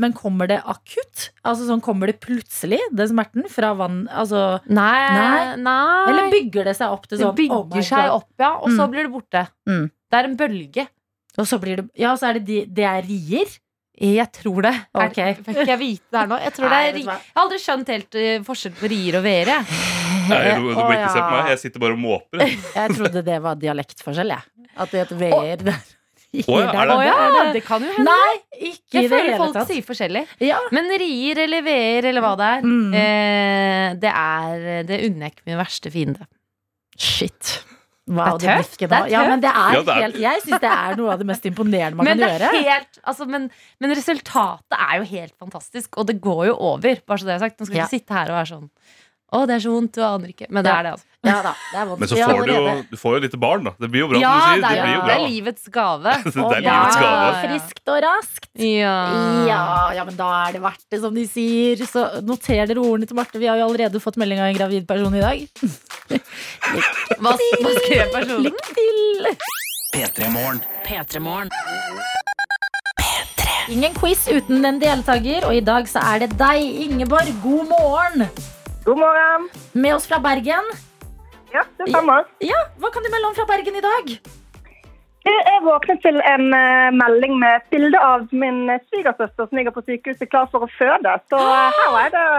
Speaker 2: men kommer det akutt? Altså sånn Kommer det plutselig, den smerten, fra vann altså,
Speaker 7: Nei,
Speaker 2: Nei.
Speaker 7: nei.
Speaker 2: Eller bygger det seg opp til
Speaker 7: det
Speaker 2: sånn
Speaker 7: bygger
Speaker 2: oh my
Speaker 7: seg
Speaker 2: God.
Speaker 7: opp, ja, og så
Speaker 2: Mm.
Speaker 7: blir det borte.
Speaker 2: Mm.
Speaker 7: Det er en bølge.
Speaker 2: Og så blir det Ja, så er det de, det er rier?
Speaker 7: Jeg tror det. Er-
Speaker 2: Ok.
Speaker 7: Fikk jeg vite det her nå? Jeg, tror det
Speaker 2: Nei,
Speaker 7: er,
Speaker 2: vet
Speaker 7: ri-
Speaker 2: du hva?
Speaker 7: jeg har aldri skjønt helt uh, forskjell på rier og vere. jeg.
Speaker 3: Nei, du, du
Speaker 2: Å,
Speaker 3: blir ikke se på
Speaker 2: ja.
Speaker 3: meg. Jeg sitter bare og måper. jeg.
Speaker 2: Jeg trodde det var dialektforskjell, jeg. At det heter veer der.
Speaker 3: Å, ja, er
Speaker 7: Å
Speaker 3: det-
Speaker 7: ja, det kan jo hende.
Speaker 2: Nei, ikke
Speaker 7: Jeg
Speaker 2: i det
Speaker 7: føler
Speaker 2: hele
Speaker 7: folk
Speaker 2: tatt.
Speaker 7: sier forskjellig.
Speaker 2: Ja.
Speaker 7: Men rier eller veer eller hva det er,
Speaker 2: Mm.
Speaker 7: eh, det er Det unner jeg ikke min verste fiende.
Speaker 2: Shit. Wow,
Speaker 7: Det er tøft.
Speaker 2: virker
Speaker 7: Det er
Speaker 2: nå. Ja, men det er
Speaker 3: Ja, det er-
Speaker 2: helt Jeg syns det er noe av det mest imponerende man
Speaker 7: Men, det
Speaker 2: kan
Speaker 7: er
Speaker 2: gjøre.
Speaker 7: helt, altså, men, men resultatet er jo helt fantastisk, og det går jo over. Bare så det er sagt. Nå skal vi
Speaker 2: Ja.
Speaker 7: ikke sitte her og være sånn Å, det er så vondt, du aner ikke. Men det
Speaker 2: Ja.
Speaker 7: er det, altså.
Speaker 2: Ja da, det er vondt.
Speaker 3: Men så
Speaker 2: Vi har
Speaker 3: får du jo,
Speaker 2: allerede-
Speaker 3: du får jo et lite barn, da. Det blir jo bra.
Speaker 7: ja,
Speaker 3: som du
Speaker 7: det
Speaker 3: sier.
Speaker 7: er,
Speaker 3: Det blir jo
Speaker 7: det
Speaker 3: bra.
Speaker 7: er livets gave.
Speaker 3: Det er
Speaker 2: Ja,
Speaker 3: livets gave.
Speaker 2: Friskt og raskt.
Speaker 7: Ja.
Speaker 2: Ja, ja, men da er det verdt det, som de sier. Så noter dere ordene til Marte. Vi har jo allerede fått melding av en gravid person i dag.
Speaker 7: Hva, hva skrev personen?
Speaker 2: Lykke til!
Speaker 4: P3 Morgen.
Speaker 2: Ingen quiz uten en deltaker, og i dag så er det deg, Ingeborg. God morgen!
Speaker 6: God morgen.
Speaker 2: Med oss fra Bergen.
Speaker 6: Ja, det stemmer.
Speaker 2: Ja, Hva kan du melde om fra Bergen i dag?
Speaker 6: Du, Jeg våknet til en eh, melding med et bilde av min eh, svigersøster som ligger på sykehuset klar for å føde. Så eh, her er det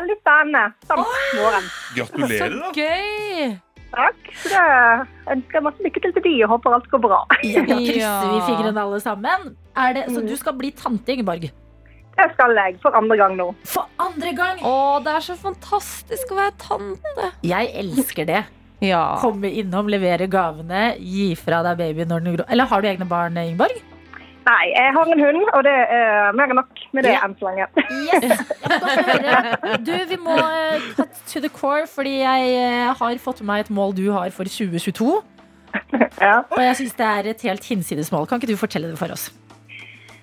Speaker 6: veldig spennende. Samt morgen.
Speaker 3: Gratulerer, da.
Speaker 7: Gøy!
Speaker 6: Takk. Så det ønsker jeg masse lykke til til de og håper alt går bra.
Speaker 2: Ja, da krysser
Speaker 7: Ja.
Speaker 2: vi fingrene alle sammen. Er det, så du skal bli tante, Ingeborg.
Speaker 6: Det skal jeg for andre gang nå.
Speaker 2: For andre gang!
Speaker 7: Å, det er så fantastisk å være tante.
Speaker 2: Jeg elsker det.
Speaker 7: Ja.
Speaker 2: Komme innom, levere gavene, gi fra deg babyen når den gror. Eller har du egne barn, Ingeborg?
Speaker 6: Nei, jeg har en hund, og det er eh, mer enn nok med det
Speaker 2: Ja.
Speaker 6: enn så lenge.
Speaker 2: Yes! Ja, men godt å høre. Du, vi må eh, cut to the core, fordi jeg eh, har fått med meg et mål du har for 2022.
Speaker 6: Ja.
Speaker 2: Og jeg syns det er et helt hinsides mål. Kan ikke du fortelle det for oss?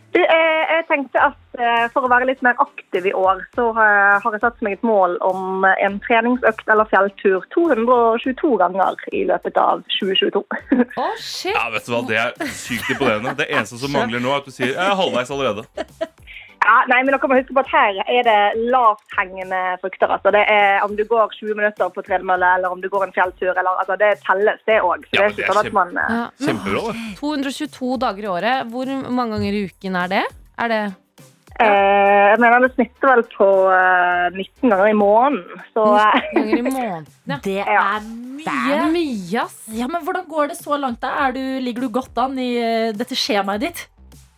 Speaker 6: Du, eh, jeg tenkte at eh, for å være litt mer aktiv i år, så eh, har jeg satt meg et mål om eh, en treningsøkt eller fjelltur 222 ganger i løpet av 2022.
Speaker 7: Å, shit.
Speaker 3: Ja, vet du hva, Det er sykt imponerende. Det eneste som mangler nå, er at du sier jeg er halvveis allerede.
Speaker 6: Ja, nei, men dere må huske på at her er det lavthengende frukter. Altså. Det er om du går 20 minutter på tredemølle, eller om du går en fjelltur, eller altså, det telles det òg. Så
Speaker 3: Ja, men
Speaker 6: det er
Speaker 3: det
Speaker 6: ikke
Speaker 3: er
Speaker 6: sånn at
Speaker 3: kjempe-
Speaker 6: man eh,
Speaker 7: Ja. Men
Speaker 3: Kjempebra. det.
Speaker 7: 222 dager i året, hvor mange ganger i uken er det? Er det
Speaker 6: eh, Jeg mener det snitter vel på eh, 19 ganger i måneden, så
Speaker 3: Mm.
Speaker 6: eh,
Speaker 7: 19 ganger i måneden?
Speaker 2: Det
Speaker 6: Ja.
Speaker 2: er
Speaker 7: Det er
Speaker 2: mye.
Speaker 7: mye, ass.
Speaker 2: Ja, men Hvordan går det så langt? da? Er du, ligger du godt an i eh, dette skjemaet ditt?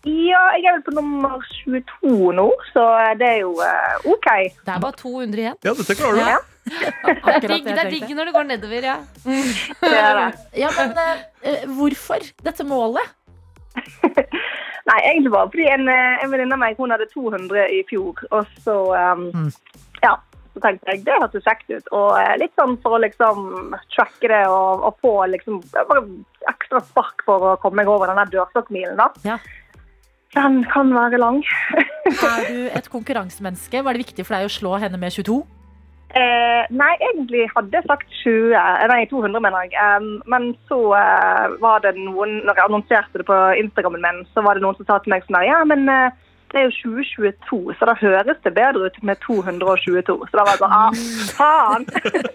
Speaker 6: ja, jeg er vel på nummer 22 nå, så det er jo eh, OK.
Speaker 7: Det er bare 200 igjen.
Speaker 3: Ja, dette klarer du.
Speaker 7: Ja. Det er
Speaker 2: Akkurat
Speaker 7: digg,
Speaker 2: det jeg
Speaker 7: det er
Speaker 2: tenkte.
Speaker 7: digg når det går nedover, ja.
Speaker 6: Det er det.
Speaker 2: Ja, men eh, eh, Hvorfor dette målet?
Speaker 6: Nei, egentlig bare fordi en, eh, en venninne av meg hun hadde 200 i fjor. Og så, um,
Speaker 2: Mm.
Speaker 6: ja, så tenkte jeg det hørtes kjekt ut. Og eh, litt sånn for å liksom tracke det og, og få liksom bare ekstra spark for å komme meg over denne dørstokkmilen. da.
Speaker 2: Ja.
Speaker 6: Den kan være lang.
Speaker 2: Er du et konkurransemenneske? Var det viktig for deg å slå henne med 22?
Speaker 6: Eh, nei, egentlig hadde jeg sagt 20, eh, nei 200 mener jeg. Em, men så eh, var det noen, når jeg annonserte det på Instagrammen min, så var det noen som sa til meg sånn her, ja, men eh, det er jo 2022, så da høres det bedre ut med 222. Så da var jeg sånn, ah, faen!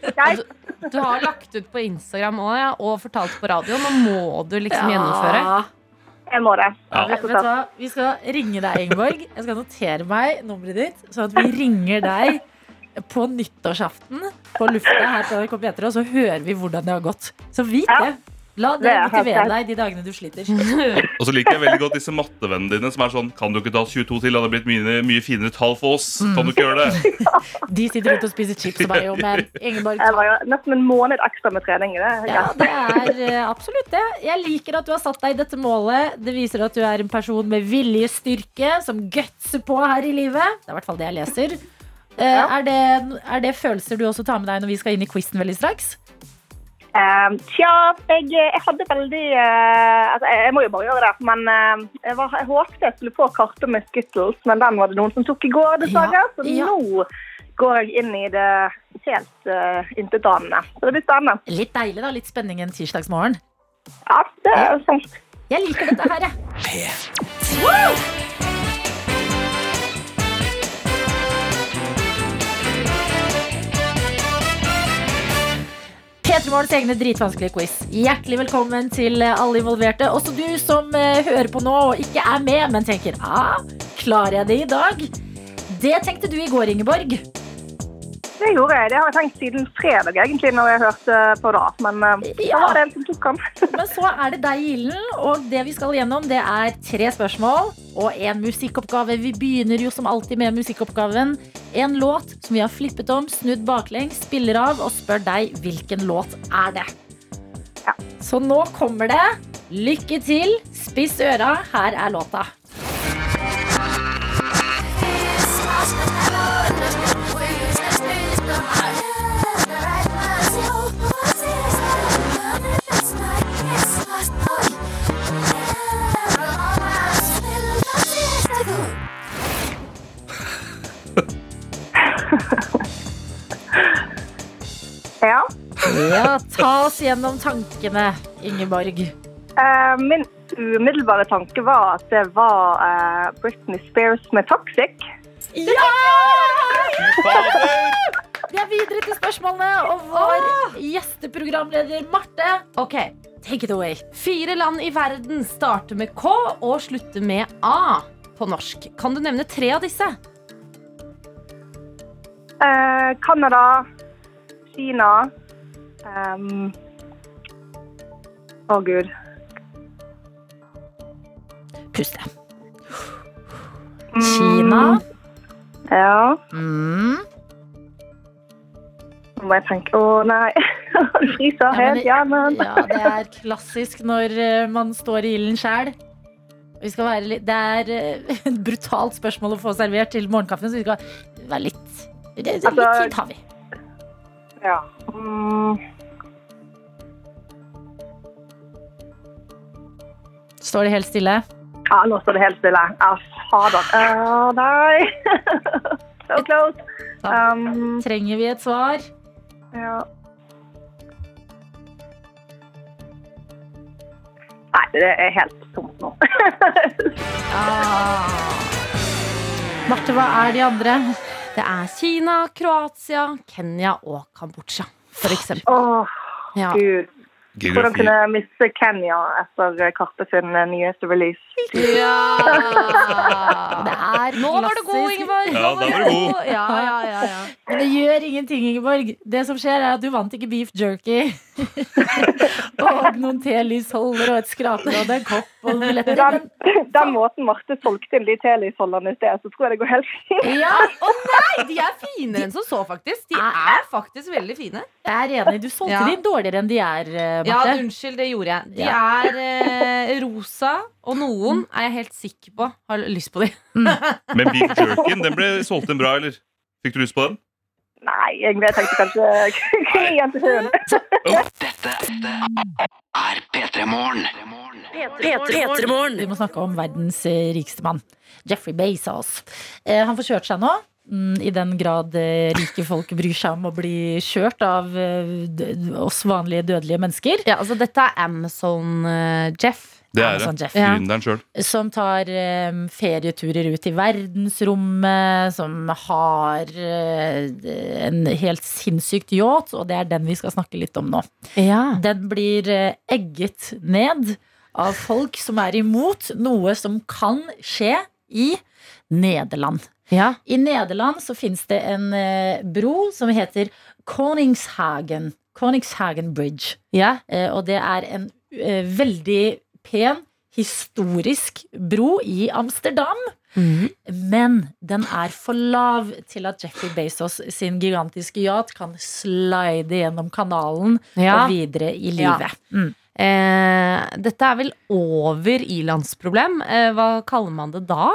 Speaker 6: Jeg,
Speaker 7: Du har lagt ut på Instagram også, ja, og fortalt på radio. Nå må du liksom gjennomføre.
Speaker 6: jeg må det.
Speaker 3: Ja.
Speaker 2: Vet
Speaker 6: Rett og
Speaker 2: du
Speaker 6: slett.
Speaker 2: hva? Vi skal ringe deg, Ingeborg. Jeg skal notere meg nummeret ditt, sånn at vi ringer deg på nyttårsaften på lufta her på NRK P3, og så hører vi hvordan det har gått. Så vit
Speaker 6: Ja.
Speaker 2: det. La
Speaker 6: Det
Speaker 2: det
Speaker 6: er helt
Speaker 2: motivere
Speaker 6: sant.
Speaker 2: deg de dagene du sliter.
Speaker 3: Og så liker jeg veldig godt disse mattevennene dine som er sånn Kan du ikke ta 22 til? Det hadde blitt mye, mye finere tall for oss. Kan du ikke gjøre det?
Speaker 2: De sitter ute og spiser chips og bare jo mer. Ingeborg,
Speaker 6: Jeg var jo nesten en måned ekstra med trening. Det. er
Speaker 2: Ja,
Speaker 6: greit.
Speaker 2: det er eh, absolutt det. Jeg liker at du har satt deg i dette målet. Det viser at du er en person med viljestyrke, som gutser på her i livet. Det er i hvert fall det jeg leser. Eh, Er, det, er det følelser du også tar med deg når vi skal inn i quizen veldig straks?
Speaker 6: Em, Ehm, tja, jeg, jeg hadde veldig eh, altså, jeg, jeg må jo bare gjøre det. Men eh, jeg, var, jeg håpte jeg skulle få kartet med Skittles, men den var det noen som tok i går, dessverre.
Speaker 2: Ja,
Speaker 6: Så
Speaker 2: ja.
Speaker 6: nå går jeg inn i det helt uh, intetanende. Så det blir spennende.
Speaker 2: Litt deilig, da. Litt spenning en tirsdagsmorgen.
Speaker 6: Ja, det er sant.
Speaker 2: Jeg liker dette her, jeg. P3morgens egne dritvanskelige quiz. Hjertelig velkommen til eh, alle involverte. Også du som eh, hører på nå og ikke er med, men tenker ah, klarer jeg det i dag? Det tenkte du i går, Ingeborg.
Speaker 6: Det gjorde jeg. Det har jeg tenkt siden fredag, egentlig, når jeg hørte på det. Men eh, da
Speaker 2: Ja.
Speaker 6: var det en som tok den.
Speaker 2: Men så er det deg, Gilden, og det vi skal gjennom, det er tre spørsmål og en musikkoppgave. Vi begynner jo som alltid med musikkoppgaven. En låt som vi har flippet om, snudd baklengs, spiller av og spør deg hvilken låt er det.
Speaker 6: Ja.
Speaker 2: Så nå kommer det. Lykke til. Spiss øra. Her er låta.
Speaker 8: When you touch me, it's the hardest. The right one's yours.
Speaker 2: Ja, ta oss gjennom tankene, Ingeborg.
Speaker 6: Eh, min umiddelbare tanke var at det var eh, Britney Spears med 'Toxic'.
Speaker 2: Ja!
Speaker 3: Fy fader!
Speaker 2: Vi er videre til spørsmålene, og vår gjesteprogramleder Marte
Speaker 7: Ok,
Speaker 2: Take it away.
Speaker 7: Fire land i verden starter med K og slutter med A på norsk. Kan du nevne tre av disse?
Speaker 6: Eh, Canada, Kina ehm, Å, gud.
Speaker 2: Puste. Kina.
Speaker 6: Mm. Ja,
Speaker 2: Mm.
Speaker 6: nå må jeg tenke Å, nei. Det fryser
Speaker 2: Ja, men-
Speaker 6: helt hjernen.
Speaker 2: Ja, det er klassisk når eh, man står i ilden sjæl. Vi skal være litt, det er eh, et brutalt spørsmål å få servert til morgenkaffen, så vi skal være litt det, det, Litt
Speaker 6: Altså-
Speaker 2: tid har vi.
Speaker 6: Ja. Mm,
Speaker 2: Står det helt stille?
Speaker 6: ja, nå står det helt stille. Ja, fader. Å, nei. So close. Um,
Speaker 2: Trenger vi et svar?
Speaker 6: ja. Nei, det er helt tomt nå.
Speaker 2: Marte, hva er de andre?
Speaker 7: Det er Kina, Kroatia, Kenya og Kambodsja, for eksempel.
Speaker 6: Å,
Speaker 7: Ja.
Speaker 6: gud. Hvordan
Speaker 3: Geografi.
Speaker 6: kunne jeg miste Kenya etter Karpe sin eh, nyeste release?
Speaker 7: Ja!
Speaker 2: Det er
Speaker 7: Nå var du god,
Speaker 2: klassisk.
Speaker 7: Ingeborg!
Speaker 3: Ja, da var du god.
Speaker 7: Ja, ja, ja, ja.
Speaker 2: Men det gjør ingenting, Ingeborg. Det som skjer, er at du vant ikke beef jerky. og noen telysholder og et skrapelodd, en kopp og billetter.
Speaker 6: Den, den måten Marte solgte inn de telysholderne i sted, så tror jeg det går helt fint.
Speaker 7: Ja. Å nei, de er finere enn som så, faktisk. De er faktisk veldig fine.
Speaker 2: Jeg er enig. Du solgte
Speaker 7: Ja.
Speaker 2: de dårligere enn de er, eh,
Speaker 7: Ja,
Speaker 2: Marte.
Speaker 7: unnskyld, det gjorde jeg. De er eh, rosa, og noen er jeg helt sikker på har lyst på de.
Speaker 3: Men Big Jerkin, den ble solgt inn bra, eller? Fikk du lyst på den?
Speaker 6: Nei, egentlig jeg tenkte kanskje jentesjøen.
Speaker 4: er P3 Morgen.
Speaker 2: Vi må snakke om verdens eh, rikeste mann. Jeffrey Bezos. Eh, han får kjørt seg nå. Mm, I den grad eh, rike folk bryr seg om å bli kjørt av eh, d- oss vanlige dødelige mennesker.
Speaker 7: Ja, altså Dette er eh, Amazon-Jeff.
Speaker 3: Det er
Speaker 2: Amazon
Speaker 3: det.
Speaker 2: Jeff.
Speaker 3: Gründeren sjøl.
Speaker 2: Som tar eh, ferieturer ut i verdensrommet, som har eh, en helt sinnssykt yacht, og det er den vi skal snakke litt om nå.
Speaker 7: ja.
Speaker 2: Den blir eh, egget ned av folk som er imot noe som kan skje i Nederland.
Speaker 7: ja.
Speaker 2: I Nederland så finnes det en eh, bro som heter Koningshagen. Koningshagen Bridge.
Speaker 7: Ja.
Speaker 2: Eh, og det er en eh, veldig pen, historisk bro i Amsterdam.
Speaker 7: Mhm.
Speaker 2: Men den er for lav til at Jeffrey Bezos sin gigantiske yacht kan slide gjennom kanalen og videre i livet. Mm.
Speaker 7: Eh, dette er vel over ilandsproblem. Eh, hva kaller man det da?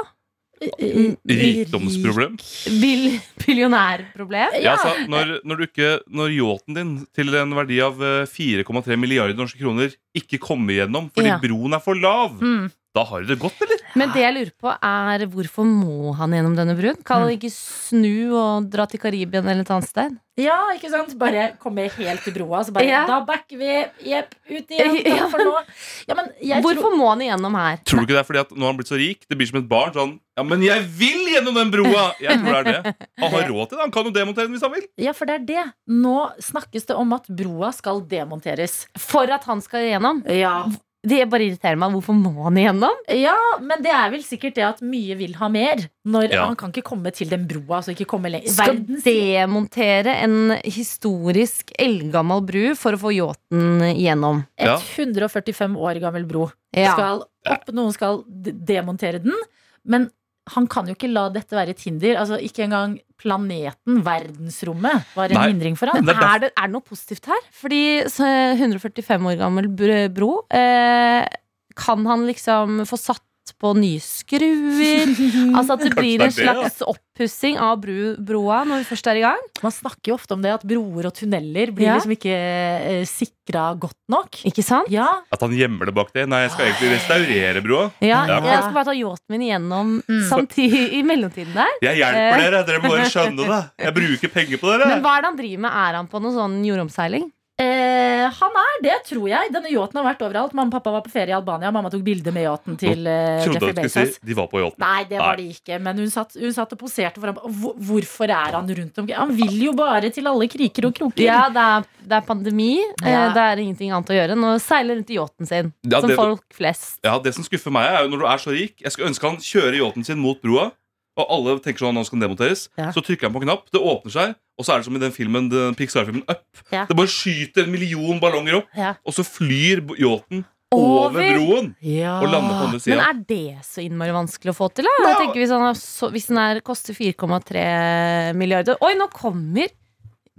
Speaker 7: Mm.
Speaker 3: Rikdomsproblem.
Speaker 7: Bil billionærproblem?
Speaker 3: Ja, altså, når, når, du ikke, når yachten din til en verdi av eh, 4,3 milliarder norske kroner ikke kommer gjennom fordi
Speaker 7: Ja.
Speaker 3: broen er for lav,
Speaker 2: Mm.
Speaker 3: da har du det godt, eller?
Speaker 7: Men det jeg lurer på er hvorfor må han gjennom denne bruen? Kan han ikke snu og dra til Karibien eller et annet sted?
Speaker 2: Ja, ikke sant? Bare komme helt til broa, så bare
Speaker 7: Ja.
Speaker 2: Da backer vi! Jepp, ut igjen! Takk for nå. Ja, men jeg tror-
Speaker 7: Hvorfor må han igjennom her?
Speaker 3: Tror du ikke det er fordi at nå har han blitt så rik? Det blir som et barn sånn Ja, men jeg vil gjennom den broa! Jeg tror det er det. Han har råd til det. Han kan jo demontere den hvis han vil.
Speaker 2: Ja, for det er det. Nå snakkes det om at broa skal demonteres.
Speaker 7: For at han skal igjennom?
Speaker 2: Ja.
Speaker 7: Det bare irriterer meg. Hvorfor må han igjennom?
Speaker 2: men det er vel sikkert det at mye vil ha mer. Når
Speaker 3: Ja.
Speaker 2: Han kan ikke komme til den broa. Altså ikke komme lenger.
Speaker 7: Skal
Speaker 2: Verdens-
Speaker 7: demontere en historisk eldgammel bru for å få yachten igjennom.
Speaker 3: Ja.
Speaker 2: Et 145 år gammel bro
Speaker 7: Ja.
Speaker 2: skal opp. Noen skal d- demontere den. Men han kan jo ikke la dette være et hinder. Altså, ikke engang planeten, verdensrommet, var en
Speaker 3: Nei.
Speaker 2: hindring for han.
Speaker 3: Det er
Speaker 7: er, det, er det noe positivt her? Fordi så, 145 år gammel br- bro eh, Kan han liksom få satt på nye skruer? altså at det blir
Speaker 3: det er
Speaker 7: en
Speaker 3: det, ja.
Speaker 7: slags oppussing av bru, broa når vi først er i gang?
Speaker 2: Man snakker jo ofte om det at broer og tunneler blir
Speaker 7: Ja.
Speaker 2: liksom ikke eh, sikra godt nok.
Speaker 7: Ikke sant?
Speaker 2: Ja,
Speaker 3: At han gjemmer det bak det. Nei, jeg skal egentlig restaurere broa.
Speaker 7: Ja,
Speaker 3: Ja.
Speaker 7: Jeg skal bare ta yachten min igjennom samtidig i mellomtiden der.
Speaker 3: Jeg hjelper dere. Dere må bare skjønne det. Jeg bruker penger på dere.
Speaker 7: Men hva er det han driver med? Er han på noe sånn jordomseiling?
Speaker 2: Eh, han er, det tror jeg. Denne yachten har vært overalt. Mamma og pappa var på ferie i Albania. Mamma tok bilde med yachten til eh,
Speaker 3: Trodde
Speaker 2: Jeffrey
Speaker 3: jeg skulle
Speaker 2: Bezos.
Speaker 3: si de var på yachten.
Speaker 2: Nei, det var
Speaker 3: Nei.
Speaker 2: det ikke. Men hun satt, hun satt og poserte for ham. Og hvor- Hvorfor er han rundt omkring? Han vil jo bare til alle kriker og kroker.
Speaker 7: Ja, det er, det er pandemi.
Speaker 2: Ja.
Speaker 7: Eh, Det er ingenting annet å gjøre enn å seile rundt i yachten sin.
Speaker 3: Ja,
Speaker 7: som
Speaker 3: det-
Speaker 7: folk flest.
Speaker 3: Ja, Det som skuffer meg, er jo når du er så rik Jeg skulle ønske han kjører yachten sin mot broa, og alle tenker sånn nå skal den demonteres.
Speaker 2: Ja.
Speaker 3: Så trykker han på en knapp, det åpner seg, og så er det som i den filmen den Pixar-filmen Up.
Speaker 2: Ja.
Speaker 3: Det bare skyter en million ballonger opp,
Speaker 2: Ja.
Speaker 3: og så flyr b- yachten
Speaker 7: Over?
Speaker 3: over broen
Speaker 2: Ja.
Speaker 3: og lander på andre
Speaker 7: Men
Speaker 3: sida.
Speaker 7: er det så innmari vanskelig å få til? Da? Jeg tenker hvis, han er så, hvis den er, koster 4,3 milliarder Oi, nå kommer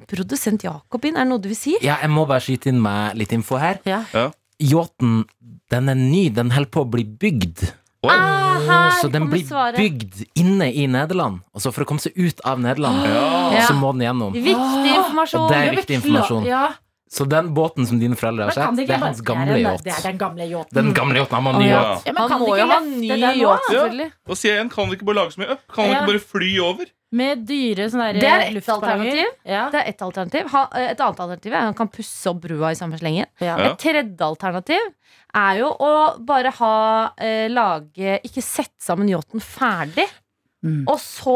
Speaker 7: produsent Jakob inn. Er det noe du vil si?
Speaker 5: Ja, jeg må bare skyte inn meg litt info her.
Speaker 2: Ja.
Speaker 3: Ja.
Speaker 5: Yachten, den er ny. Den holder på å bli bygd.
Speaker 7: Ah, her
Speaker 5: så den
Speaker 7: kommer
Speaker 5: blir
Speaker 7: svaret.
Speaker 5: bygd inne i Nederland. Og så for å komme seg ut av Nederland,
Speaker 2: Ah.
Speaker 7: Ja.
Speaker 5: så må den gjennom.
Speaker 7: Viktig informasjon.
Speaker 5: Og det er
Speaker 2: Ja,
Speaker 5: viktig
Speaker 2: men
Speaker 5: informasjon.
Speaker 2: klar- Ja.
Speaker 5: Så den båten som dine foreldre
Speaker 2: Men
Speaker 5: har
Speaker 2: kan
Speaker 5: sett,
Speaker 2: det
Speaker 5: det
Speaker 2: ikke
Speaker 5: er hans
Speaker 2: bare
Speaker 5: gamle
Speaker 2: være den-
Speaker 5: yacht.
Speaker 2: Det er den gamle yachten.
Speaker 5: Den gamle yachten, han må ha ny
Speaker 3: Ja.
Speaker 5: yacht.
Speaker 2: Ja, men
Speaker 7: Han
Speaker 2: kan det
Speaker 7: må
Speaker 2: ikke
Speaker 7: jo ha
Speaker 2: løfte
Speaker 7: ny
Speaker 2: den nå,
Speaker 7: yacht,
Speaker 2: da?
Speaker 7: selvfølgelig.
Speaker 3: Da sier jeg igjen, kan vi ikke bare lage så mye up? Kan han
Speaker 2: Ja.
Speaker 3: ikke bare fly over?
Speaker 2: Med dyre sånne der,
Speaker 7: Det er
Speaker 2: eh,
Speaker 7: et
Speaker 2: luftballonger.
Speaker 7: alternativ.
Speaker 2: Ja.
Speaker 7: Det er ett alternativ. Ha, eh, et annet alternativ er at han kan pusse opp brua i samme slengen.
Speaker 2: Ja.
Speaker 3: Ja.
Speaker 7: Et tredje alternativ er jo å bare ha eh, lage Ikke sette sammen yachten ferdig,
Speaker 2: Mm.
Speaker 7: og så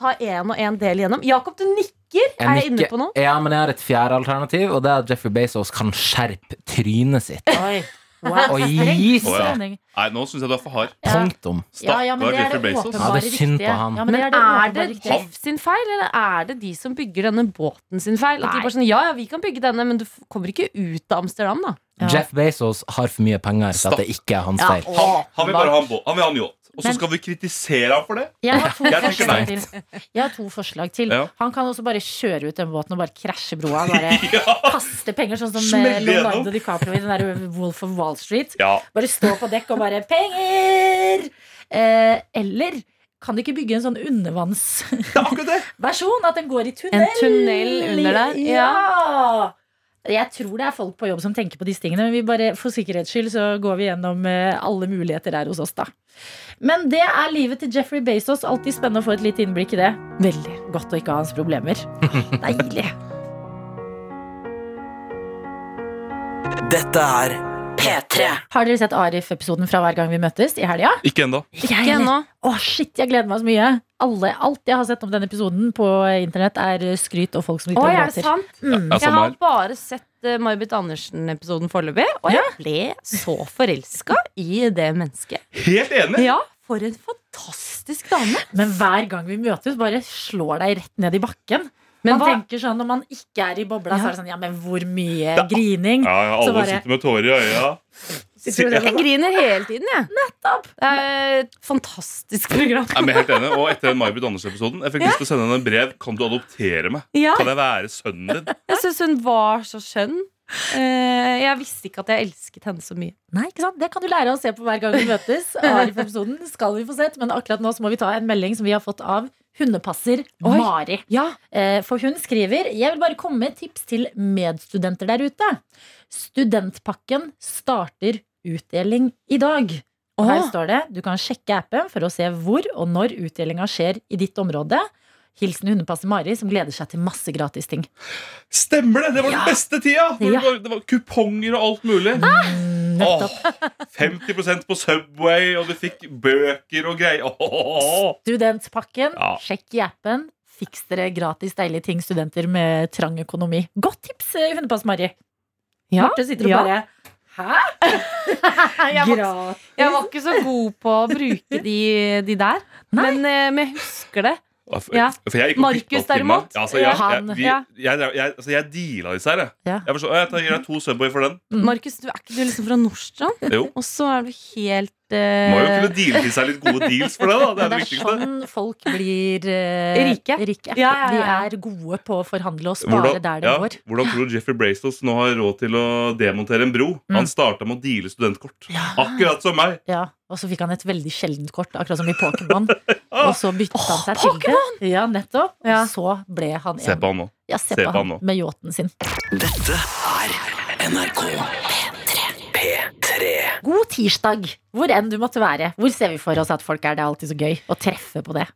Speaker 7: ta én og én del igjennom. Jakob, du nikker. er jeg inne
Speaker 5: nikker-
Speaker 7: på noe?
Speaker 5: Ja, men jeg har et fjerde alternativ, og det er at Jeffrey Bezos kan skjerpe trynet sitt.
Speaker 2: Oi. Wow.
Speaker 5: Og gi
Speaker 3: Å, ja.
Speaker 5: seg.
Speaker 3: Nei, nå syns jeg du er for hard.
Speaker 5: Punktum.
Speaker 2: Ja, ja, men det
Speaker 3: Stakkar
Speaker 2: er
Speaker 3: Jeffrey
Speaker 2: det
Speaker 3: Bezos.
Speaker 5: Ja,
Speaker 2: åpenbare
Speaker 5: det er synd på
Speaker 2: riktige.
Speaker 5: han.
Speaker 2: Ja, men
Speaker 7: Men
Speaker 2: det er det
Speaker 7: er
Speaker 2: åpenbare
Speaker 7: det
Speaker 2: riktige.
Speaker 7: Jeff sin feil, eller er det de som bygger denne båten sin feil? At de
Speaker 2: Nei.
Speaker 7: bare sånn, ja, ja, vi kan bygge denne, men du f- kommer ikke ut av Amsterdam, da.
Speaker 2: Ja.
Speaker 5: Jeff Bezos har for mye penger til
Speaker 3: Stopp.
Speaker 5: at det ikke er hans
Speaker 2: Ja,
Speaker 5: feil.
Speaker 2: og-
Speaker 3: Han vil bare ha en, bå- han vil ha en yacht. Og så
Speaker 2: Men-
Speaker 3: skal vi kritisere ham for det?
Speaker 2: Jeg har to
Speaker 3: Jeg tenker
Speaker 2: forslag
Speaker 3: nei.
Speaker 2: til. Jeg har to forslag til.
Speaker 3: Ja.
Speaker 2: Han kan også bare kjøre ut den båten og bare krasje broa. Bare kaste penger, sånn som eh,
Speaker 3: Smelle gjennom.
Speaker 2: Leonardo DiCaprio i den der Wolf of Wall Street.
Speaker 3: Ja.
Speaker 2: Bare stå på dekk og bare 'penger'! Eh, eller kan de ikke bygge en sånn undervannsversjon?
Speaker 3: Det er akkurat det!
Speaker 2: At den går i tunnel?
Speaker 7: En tunnel under der,
Speaker 2: Ja! Jeg tror det er folk på jobb som tenker på disse tingene, men vi bare, for sikkerhets skyld så går vi gjennom eh, alle muligheter her hos oss, da. Men det er livet til Jeffrey Bezos. Alltid spennende å få et lite innblikk i det. Veldig godt å ikke ha hans problemer. Deilig.
Speaker 8: Dette er P3.
Speaker 2: Har dere sett Arif-episoden fra Hver gang vi møtes i helga?
Speaker 3: Ikke ennå.
Speaker 2: Ikke
Speaker 7: Ikke ennå.
Speaker 2: Å, shit, jeg gleder meg så mye. Alle, alt jeg har sett om denne episoden på internett, er skryt og folk som
Speaker 7: Oi,
Speaker 2: liker
Speaker 7: er det
Speaker 2: låter.
Speaker 7: sant?
Speaker 3: Ja,
Speaker 7: Jeg
Speaker 3: samme
Speaker 7: har
Speaker 3: her.
Speaker 7: bare sett eh, May-Britt Andersen-episoden foreløpig, og jeg ble så forelska i det mennesket.
Speaker 3: Helt enig!
Speaker 7: Ja, for en fantastisk dame.
Speaker 2: Men hver gang vi møtes, bare slår deg rett ned i bakken.
Speaker 7: Men
Speaker 2: man
Speaker 7: hva-
Speaker 2: tenker sånn, Når man ikke er i bobla,
Speaker 7: Ja.
Speaker 2: så er det sånn Ja, men hvor mye grining?
Speaker 3: Ja, ja,
Speaker 2: Så
Speaker 3: alle
Speaker 2: bare-
Speaker 3: sitter med tårer i øya.
Speaker 2: tror det
Speaker 7: Jeg griner hele tiden, jeg. Nettopp. Det er et fantastisk program.
Speaker 3: Nei, men helt enig, og Etter den May-Britt Andersen-episoden Jeg fikk lyst til å sende henne en brev. Kan du adoptere meg?
Speaker 7: Ja,
Speaker 3: Kan jeg være sønnen din?
Speaker 7: jeg syns hun var så skjønn. Eh, Jeg visste ikke at jeg elsket henne så mye.
Speaker 2: Nei, ikke sant? Det kan du lære å se på hver gang vi møtes. Arif-episoden skal vi få sett, men akkurat nå så må vi ta en melding som vi har fått av hundepasser
Speaker 7: Oi.
Speaker 2: Mari.
Speaker 7: Ja,
Speaker 2: Eh, For hun skriver Jeg vil bare komme med et tips til medstudenter der ute Studentpakken starter utdeling i dag Og her
Speaker 7: Åh.
Speaker 2: står det Du kan sjekke appen for å se hvor og når utdelingen skjer i ditt område Hilsen hundepasser Mari som gleder seg til masse gratis ting
Speaker 3: Stemmer det! Det var den beste tida! Hvor
Speaker 2: Ja. Ah!
Speaker 3: det, var, det var Kuponger og alt mulig. Åh, 50 på Subway, og du fikk bøker og greier. Åh.
Speaker 2: Studentpakken,
Speaker 3: Ja.
Speaker 2: sjekk i appen Fiks dere gratis deilige ting studenter med trang økonomi Godt tips, eh, hundepasser Mari
Speaker 7: Ja,
Speaker 2: Marte sitter og
Speaker 7: ja.
Speaker 2: bare Hæ?
Speaker 7: Jeg var,
Speaker 2: Gratis
Speaker 7: jeg var ikke så god på å bruke de, de der,
Speaker 2: Nei.
Speaker 7: men, eh, men jeg husker det.
Speaker 3: Ja, for-
Speaker 7: Ja.
Speaker 3: for jeg gikk og
Speaker 7: Markus,
Speaker 3: bytta opp timen.
Speaker 7: derimot?
Speaker 3: Ja, Altså, jeg,
Speaker 7: Han,
Speaker 3: jeg, vi,
Speaker 7: ja.
Speaker 3: jeg, jeg, altså, jeg deala disse her, jeg.
Speaker 2: Ja.
Speaker 3: Jeg, var så, «Å, jeg tar, gir deg to Subway for den.
Speaker 7: Markus, du er ikke du liksom fra Nordstrand?
Speaker 3: Jo.
Speaker 7: Og så er du helt
Speaker 3: Må jo
Speaker 7: eh,
Speaker 3: kunne deale til seg litt gode deals for det, da. Det er
Speaker 2: Men
Speaker 3: det
Speaker 2: det er
Speaker 3: viktigste.
Speaker 2: sånn folk blir eh,
Speaker 7: Rike. Ja, ja, ja.
Speaker 2: De er gode på å forhandle og spare
Speaker 3: Hvordan,
Speaker 2: sånn der det
Speaker 3: ja,
Speaker 2: går.
Speaker 3: hvordan tror du Jeffrey Braistos nå har råd til å demontere en bro?
Speaker 2: Mm.
Speaker 3: Han starta med å deale studentkort.
Speaker 2: Ja.
Speaker 3: Akkurat som meg.
Speaker 2: Ja, Og så fikk han et veldig sjeldent kort, akkurat som i Pokémon. og så bytta han
Speaker 7: Åh,
Speaker 2: seg til det. Ja, nettopp.
Speaker 7: Ja.
Speaker 2: Så ble han
Speaker 3: Se
Speaker 2: en.
Speaker 3: på han nå.
Speaker 2: Ja, se på han
Speaker 3: nå.
Speaker 2: med yachten sin.
Speaker 8: Dette er NRK P3.
Speaker 2: God tirsdag, hvor enn du måtte være. Hvor ser vi for oss at folk er? Det er alltid så gøy å treffe på det.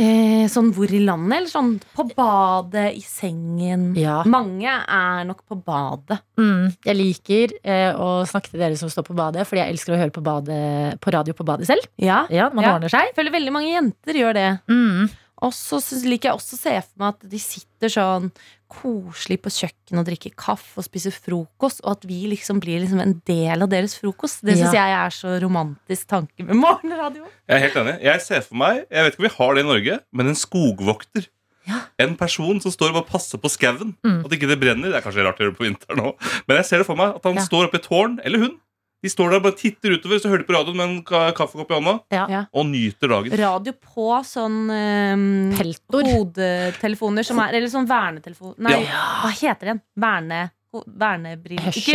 Speaker 7: Eh, sånn hvor i landet? Eller sånn på badet, i sengen?
Speaker 2: Ja.
Speaker 7: Mange er nok på badet.
Speaker 2: Mm, jeg liker eh, å snakke til dere som står på badet, fordi jeg elsker å høre på, badet, på radio på badet selv.
Speaker 7: Ja.
Speaker 2: Ja, man
Speaker 7: Ja.
Speaker 2: ordner seg.
Speaker 7: Jeg føler veldig mange jenter gjør det.
Speaker 2: Mm.
Speaker 7: Og så syns- liker jeg også å se for meg at de sitter sånn koselig på kjøkkenet og drikker kaffe og spiser frokost, og at vi liksom blir liksom en del av deres frokost. Det syns
Speaker 2: Ja.
Speaker 7: jeg er så romantisk tanke med morgenradio.
Speaker 3: Jeg er helt enig. Jeg ser for meg, jeg vet ikke om vi har det i Norge, men en skogvokter.
Speaker 2: Ja.
Speaker 3: En person som står og bare passer på skauen.
Speaker 2: Mm.
Speaker 3: At ikke det brenner. Det er kanskje rart å gjøre det på vinteren òg, men jeg ser det for meg at han
Speaker 2: Ja.
Speaker 3: står oppe i et tårn, eller hun. De står der og bare titter utover, så hører de på radioen med en ka- kaffekopp i hånda,
Speaker 2: Ja.
Speaker 7: Ja.
Speaker 3: og nyter dagen.
Speaker 7: Radio på sånn ehm,
Speaker 2: Peltor.
Speaker 7: hodetelefoner som er Eller sånn vernetelefon Nei, hva heter den? Verne... ho- Vernebriller. Ikke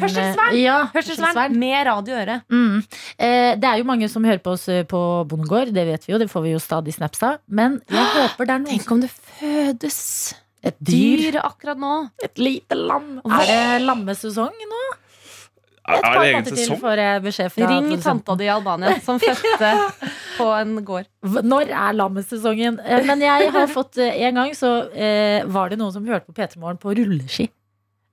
Speaker 2: Hørselsvern.
Speaker 7: Hørselsvern!
Speaker 2: Ja,
Speaker 7: Hørselsvern
Speaker 2: hørselsvern.
Speaker 7: med radio i øret.
Speaker 2: Mm. Eh, det er jo mange som hører på oss eh, på bondegård, det vet vi jo. Det får vi jo stadig snaps av. Men jeg håper det er noen
Speaker 7: Tenk om det fødes
Speaker 2: Et dyr.
Speaker 7: dyr akkurat nå.
Speaker 2: Et lite lam. Er det lammesesong nå? Et
Speaker 3: Er, er
Speaker 2: par
Speaker 3: det sånn? egen
Speaker 2: måneder til
Speaker 3: sesong?
Speaker 2: får jeg beskjed fra
Speaker 7: Ring
Speaker 2: produsenten.
Speaker 7: tanta di i Albania, som fødte på en gård.
Speaker 2: V- Når er lammesesongen? Eh, Men jeg har fått eh, En gang så eh, var det noen som hørte på P3 Morgen på rulleski.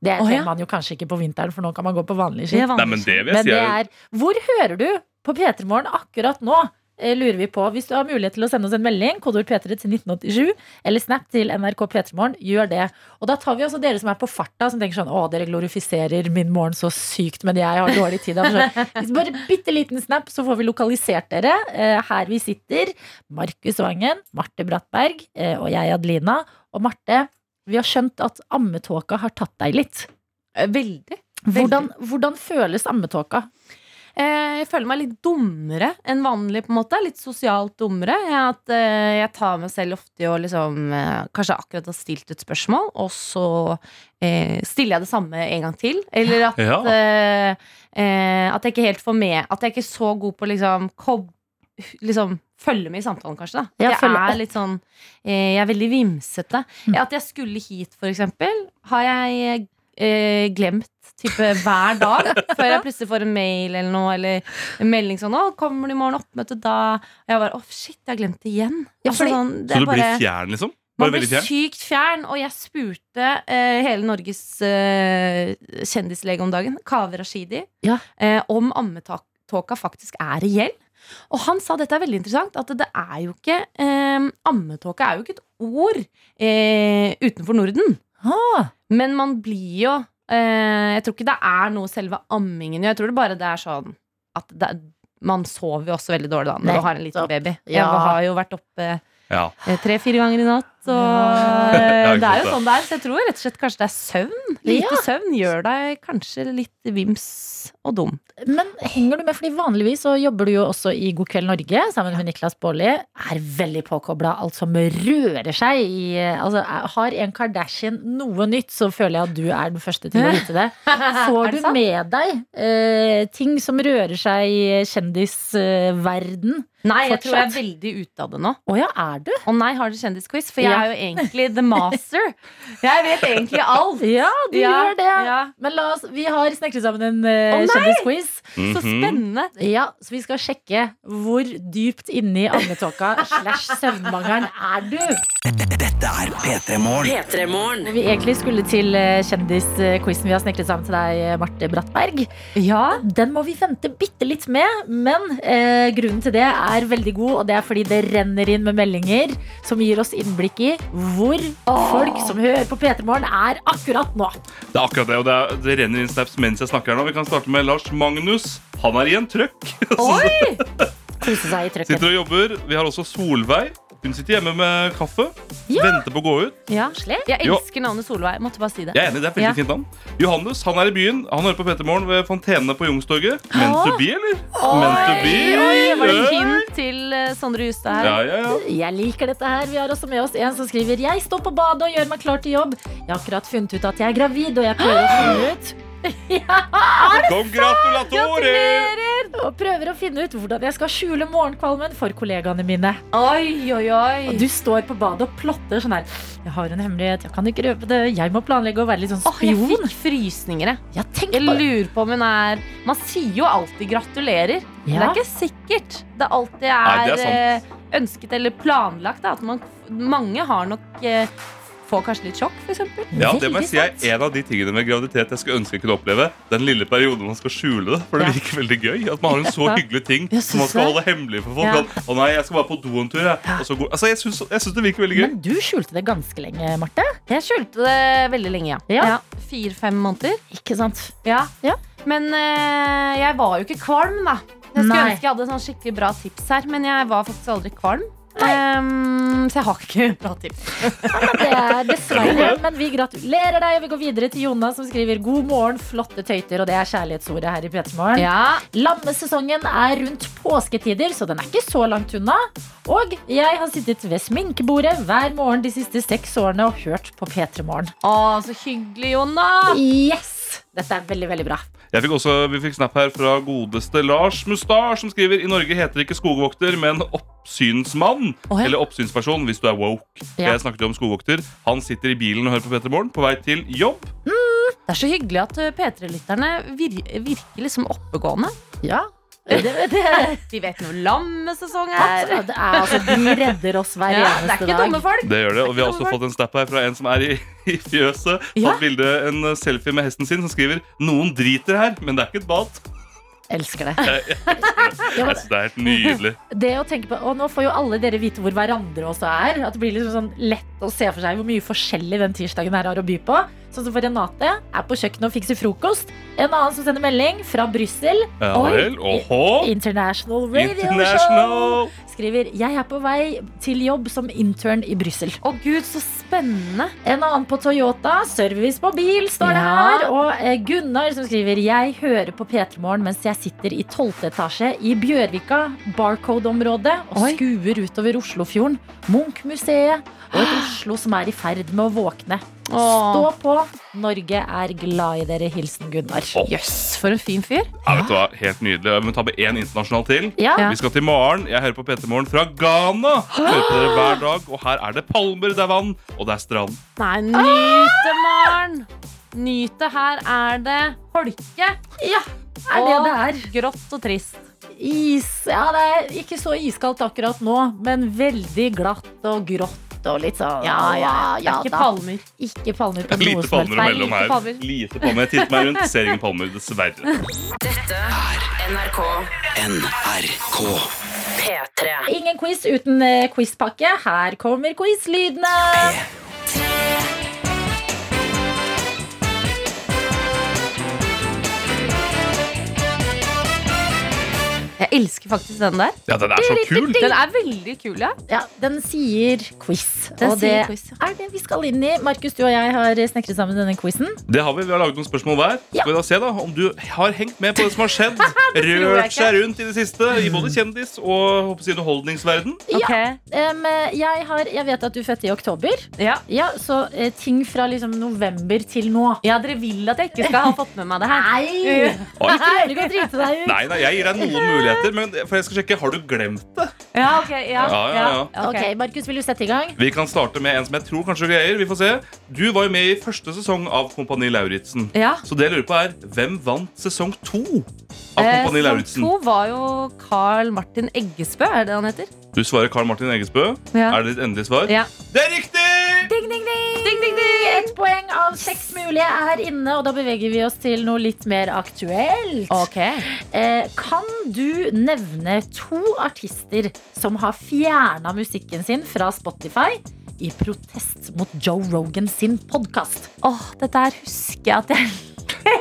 Speaker 2: Det
Speaker 7: Å,
Speaker 2: ser
Speaker 7: ja.
Speaker 2: man jo kanskje ikke på vinteren, for nå kan man gå på vanlige ski.
Speaker 3: Nei, men det vil
Speaker 2: Men
Speaker 3: jeg si
Speaker 2: det
Speaker 3: er
Speaker 2: er Hvor hører du på P3 Morgen akkurat nå? Eh, Lurer vi på. Hvis du har mulighet til å sende oss en melding, kodeord P3 til 1987, eller Snap til NRK P3 Morgen, gjør det. Og da tar vi også dere som er på farta, som tenker sånn Å, dere glorifiserer min morgen så sykt, men jeg har dårlig tid. Altså. Bare bitte liten snap, så får vi lokalisert dere. Eh, Her vi sitter. Markus Vangen, Marte Brattberg eh, og jeg, Adelina. Og Marte, vi har skjønt at ammetåka har tatt deg litt.
Speaker 7: Veldig.
Speaker 2: Hvordan, hvordan føles ammetåka?
Speaker 7: Eh, Jeg føler meg litt dummere enn vanlig, på en måte. Litt sosialt dummere. Jeg, at, eh, jeg tar meg selv ofte i å liksom eh, Kanskje akkurat har stilt et spørsmål, og så eh, stiller jeg det samme en gang til. Eller at,
Speaker 3: Ja.
Speaker 7: eh, eh, at jeg ikke helt får med At jeg ikke er så god på liksom, kob, liksom Følge med i samtalen, kanskje. da
Speaker 2: Ja,
Speaker 7: At Jeg
Speaker 2: følge opp. Mm.
Speaker 7: er litt sånn eh, Jeg er veldig vimsete. At jeg skulle hit, for eksempel, har jeg eh, glemt type hver dag. Før jeg plutselig får en mail eller noe Eller en melding sånn 'Å, kommer du i morgen? Oppmøte da?' Og jeg bare 'Å, shit, jeg har glemt det igjen'.
Speaker 2: Ja,
Speaker 7: altså,
Speaker 2: fordi-
Speaker 7: sånn, det
Speaker 3: Så
Speaker 7: er
Speaker 3: du blir
Speaker 7: bare-
Speaker 3: fjern, liksom?
Speaker 7: man
Speaker 3: Bare
Speaker 7: blir
Speaker 3: veldig fjern?
Speaker 7: sykt fjern, og jeg spurte eh, hele Norges eh, kjendislege om dagen, Kaveh Rashidi,
Speaker 2: Ja.
Speaker 7: eh, om ammetåka faktisk er reell. Og han sa dette er veldig interessant, at det er jo ikke eh, Ammetåka er jo ikke et ord eh, utenfor Norden.
Speaker 2: Ah.
Speaker 7: Men man blir jo eh, Jeg tror ikke det er noe selve ammingen gjør. Jeg tror det bare det er sånn at det, er- man sover jo også veldig dårlig da når du har en liten
Speaker 2: Nettopp.
Speaker 7: baby. Jeg
Speaker 2: Ja.
Speaker 7: har jo vært oppe
Speaker 3: Ja.
Speaker 7: eh, tre-fire ganger i natt. Og
Speaker 3: Ja,
Speaker 7: eh,
Speaker 3: ikke
Speaker 7: det er jo
Speaker 3: sant,
Speaker 7: sånn det er. Så jeg tror rett og slett kanskje det er søvn. Lite søvn gjør deg kanskje litt vims og dum.
Speaker 2: Men henger du med, fordi vanligvis så jobber du jo også i God kveld Norge sammen med Niklas Baarli. Er veldig påkobla alt som rører seg i altså, er- Har en Kardashian noe nytt, så føler jeg at du er den første til å vite det.
Speaker 7: Er
Speaker 2: Får
Speaker 7: det
Speaker 2: du
Speaker 7: sant?
Speaker 2: med deg eh, ting som rører seg i kjendisverden?
Speaker 7: Nei, jeg tror jeg er
Speaker 2: fortsatt?
Speaker 7: veldig ute av det nå.
Speaker 2: Å ja, er du?
Speaker 7: Å nei, har du kjendisquiz? For jeg
Speaker 2: Ja.
Speaker 7: er jo egentlig the master. Jeg vet egentlig alt.
Speaker 2: Ja, du
Speaker 7: Ja,
Speaker 2: gjør det.
Speaker 7: ja.
Speaker 2: Men la oss, vi har snekret sammen en eh,
Speaker 7: Å nei!
Speaker 2: kjendisquiz.
Speaker 7: Så
Speaker 3: Mhm.
Speaker 7: spennende.
Speaker 2: Ja, så vi skal sjekke hvor dypt inni ammetåka slash søvnmangelen er du.
Speaker 8: Dette er P3 Morgen.
Speaker 4: P3 Morgen.
Speaker 2: Vi egentlig skulle til eh, kjendisquizen vi har snekret sammen til deg, eh, Marte Brattberg.
Speaker 7: Ja.
Speaker 2: Den må vi vente bitte litt med, men eh, grunnen til det er veldig god, og det er fordi det renner inn med meldinger som gir oss innblikk i hvor folk som hører på P3 Morgen, er akkurat nå.
Speaker 3: Det er akkurat det, og det, er, det renner inn snaps mens jeg snakker her nå. Vi kan starte med Lars Magnus. Han er i en trøkk.
Speaker 2: Oi! Kose seg i trøkken.
Speaker 3: Sitter og jobber. Vi har også Solveig. Hun sitter hjemme med kaffe.
Speaker 2: Ja.
Speaker 3: Venter på å gå ut.
Speaker 7: ja.
Speaker 2: Koselig.
Speaker 7: Jeg
Speaker 3: Jo.
Speaker 7: elsker navnet Solveig. Måtte bare si det.
Speaker 3: Jeg er enig, det er veldig
Speaker 7: Ja.
Speaker 3: fint navn. Johannes han er i byen. Han hører på Peter Morgen ved Fontenene på Youngstorget. Meant to be, eller? Meant to be.
Speaker 7: Oi, var det et
Speaker 3: Oi.
Speaker 7: hint til eh, Sondre Justad her?
Speaker 3: Ja, ja, ja.
Speaker 2: Jeg liker dette her. Vi har også med oss en som skriver Jeg står på badet og gjør meg klar til jobb. Jeg har akkurat funnet ut at jeg er gravid, og jeg prøver å finne ut
Speaker 3: Congratulatore!
Speaker 2: Og prøver å finne ut hvordan jeg skal skjule morgenkvalmen for kollegaene mine.
Speaker 7: Oi, oi,
Speaker 2: Og
Speaker 7: oi.
Speaker 2: du står på badet og plotter sånn her. Jeg har en hemmelighet, jeg kan ikke røpe det. Jeg må planlegge å være litt sånn
Speaker 7: Åh, jeg
Speaker 2: spion.
Speaker 7: fikk frysninger, jeg.
Speaker 2: Ja, tenk
Speaker 7: Jeg
Speaker 2: på det.
Speaker 7: lurer på om hun er Man sier jo alltid gratulerer. Men det
Speaker 2: Ja.
Speaker 7: er ikke sikkert. Det alltid
Speaker 3: Nei,
Speaker 7: er,
Speaker 3: det er sant.
Speaker 7: eh, ønsket eller planlagt. Da, at man, mange har nok eh, Får kanskje litt sjokk, f.eks.
Speaker 3: Ja, det må jeg si er en av de tingene med graviditet jeg skulle ønske jeg kunne oppleve. Den lille perioden man skal skjule det. For det
Speaker 2: Ja.
Speaker 3: virker veldig gøy at man har en så
Speaker 2: Ja.
Speaker 3: hyggelig ting
Speaker 2: Jeg
Speaker 3: som man
Speaker 2: synes
Speaker 3: skal
Speaker 2: det.
Speaker 3: holde hemmelig for folk.
Speaker 2: Ja.
Speaker 3: Sånn, Å nei, jeg skal bare på do en tur, jeg. Og så går- altså, jeg syns, jeg syns det virker veldig gøy.
Speaker 2: Men du skjulte det ganske lenge, Marte.
Speaker 7: Jeg skjulte det veldig lenge, ja.
Speaker 2: Ja.
Speaker 7: Fire-fem måneder.
Speaker 2: Ikke sant?
Speaker 7: Ja.
Speaker 2: Ja.
Speaker 7: Men eh, jeg var jo ikke kvalm, da. Jeg skulle
Speaker 2: Nei.
Speaker 7: ønske jeg hadde sånn skikkelig bra tips her, men jeg var faktisk aldri kvalm. Ehm, så jeg har ikke bra tips.
Speaker 2: Det er dessverre, men vi gratulerer deg. Og vi går videre til Jonas, som skriver God morgen, flotte tøyter. Og det er kjærlighetsordet her i P3morgen.
Speaker 7: Ja.
Speaker 2: Lammesesongen er rundt påsketider, så den er ikke så langt unna. Og jeg har sittet ved sminkebordet hver morgen de siste seks årene og hørt på P3morgen.
Speaker 7: Å, så hyggelig, Jonna.
Speaker 2: Yes! Dette er veldig, veldig bra.
Speaker 3: Jeg fikk også, Vi fikk snap her fra godeste Lars Mustar, som skriver i Norge heter det ikke skogvokter, men oppsynsmann.
Speaker 2: Å, ja.
Speaker 3: Eller oppsynsperson, hvis du er woke.
Speaker 2: Ja.
Speaker 3: Jeg snakket jo om skogvokter. Han sitter i bilen og hører på Peter Morgen på vei til jobb.
Speaker 7: Det er så hyggelig at eh, P3-lytterne vir virker liksom oppegående.
Speaker 2: Ja. Det, det, det,
Speaker 7: De vet når lammesesong er.
Speaker 2: absolutt. det er altså, de redder oss hver
Speaker 7: Ja, det er
Speaker 2: eneste
Speaker 7: ikke
Speaker 2: dag.
Speaker 7: dumme folk.
Speaker 3: Det gjør det, og Vi har også fått en snap her fra en som er i, i fjøset.
Speaker 2: Ja.
Speaker 3: Tatt bilde en eh, selfie med hesten sin som skriver 'Noen driter her, men det er ikke et bad'.
Speaker 2: Elsker det. Ja, men
Speaker 3: Jeg synes det er helt nydelig.
Speaker 2: det å tenke på, og nå får jo alle dere vite hvor hverandre også er. At det blir liksom sånn lett å se for seg hvor mye forskjellig den tirsdagen her har å by på. Sånn som for Renate er på kjøkkenet og fikser frokost. En annen som sender melding fra Brussel,
Speaker 3: Ja
Speaker 2: Oi.
Speaker 3: vel. Åhå.
Speaker 2: International Radio Show,
Speaker 3: International.
Speaker 2: skriver Jeg er på vei til jobb som intern i Brussel.
Speaker 7: Å gud, så spennende.
Speaker 2: En annen på Toyota, service på bil, står det
Speaker 7: Ja.
Speaker 2: her. Og eh, Gunnar som skriver Jeg hører på P3morgen mens jeg sitter i 12. etasje i Bjørvika, Barcode-området, og
Speaker 7: Oi.
Speaker 2: skuer utover Oslofjorden, Munch-museet og et Oslo som er i ferd med å våkne. Stå på. Norge er glad i dere. Hilsen Gunnar.
Speaker 3: Å.
Speaker 7: Jøss, for en fin fyr.
Speaker 3: Ja, vet du hva, Helt nydelig. Jeg må ta med én internasjonal til.
Speaker 2: Ja.
Speaker 3: Vi skal til Maren. Jeg hører på PT Morgen fra Ghana. Hører på dere hver dag, og her er det palmer, det er vann, og det er strand.
Speaker 7: Nei, nyt det, Maren. Nyt det. Ah! Her er det holke.
Speaker 2: Er det det er?
Speaker 7: Grått og trist.
Speaker 2: Is. Ja, det er ikke så iskaldt akkurat nå, men veldig glatt og grått og litt sånn
Speaker 7: det er ikke
Speaker 2: da.
Speaker 7: palmer.
Speaker 2: Ikke palmer på noe
Speaker 3: Lite
Speaker 2: som helst.
Speaker 3: palmer
Speaker 7: Nei,
Speaker 3: imellom
Speaker 7: lite
Speaker 3: her.
Speaker 7: palmer.
Speaker 3: Lite palmer. Jeg titter meg rundt, ser ingen palmer, dessverre.
Speaker 8: NRK.
Speaker 2: Ingen quiz uten eh, quizpakke. Her kommer quizlydene.
Speaker 7: Jeg elsker faktisk den der.
Speaker 3: Ja, den er så kul.
Speaker 7: Den er veldig kul, ja.
Speaker 2: Ja, den sier quiz.
Speaker 7: Den
Speaker 2: og
Speaker 7: sier
Speaker 2: det
Speaker 7: quiz, ja.
Speaker 2: er det vi skal inn i. Markus, du og jeg har snekret sammen denne quizen.
Speaker 3: Det har Vi vi har laget noen spørsmål hver.
Speaker 2: Ja.
Speaker 3: Skal vi da se da om du har hengt med på det som har skjedd. Rørt seg rundt i det siste i både kjendis og håper jeg, underholdningsverden.
Speaker 7: Ok.
Speaker 2: Em, eh, jeg, har, jeg vet at du fødte i oktober.
Speaker 7: Ja.
Speaker 2: Ja, Så eh, ting fra liksom november til nå.
Speaker 7: ja, dere vil at jeg ikke skal ha fått med meg det her.
Speaker 2: Nei!
Speaker 3: Oi.
Speaker 2: Du kan drite deg ut.
Speaker 3: Nei, nei, jeg gir deg noen muligheter, men for jeg skal sjekke, har du glemt det?
Speaker 7: Ja, ok. Ja,
Speaker 3: Ja, ja, ja.
Speaker 2: Ok, Markus, vil du sette i gang?
Speaker 3: Vi kan starte med en som jeg tror kanskje du greier. Vi får se. Du var jo med i første sesong av Kompani Lauritzen.
Speaker 7: Ja.
Speaker 3: Så det jeg lurer på er, hvem vant sesong to av
Speaker 7: Eh,
Speaker 3: Kompani
Speaker 7: Som
Speaker 3: Lauritzen?
Speaker 7: to var jo Carl Martin Eggesbø, er det han heter?
Speaker 3: Du svarer Karl Martin Eggesbø.
Speaker 7: Ja.
Speaker 3: Er det ditt endelige svar?
Speaker 7: Ja.
Speaker 3: Det er riktig!
Speaker 2: Ding, ding, ding! Ett poeng av seks mulige er inne, og da beveger vi oss til noe litt mer aktuelt.
Speaker 7: Ok.
Speaker 2: Eh, kan du nevne to artister som har fjerna musikken sin fra Spotify i protest mot Joe Rogan sin podkast?
Speaker 7: Åh, dette her husker jeg at jeg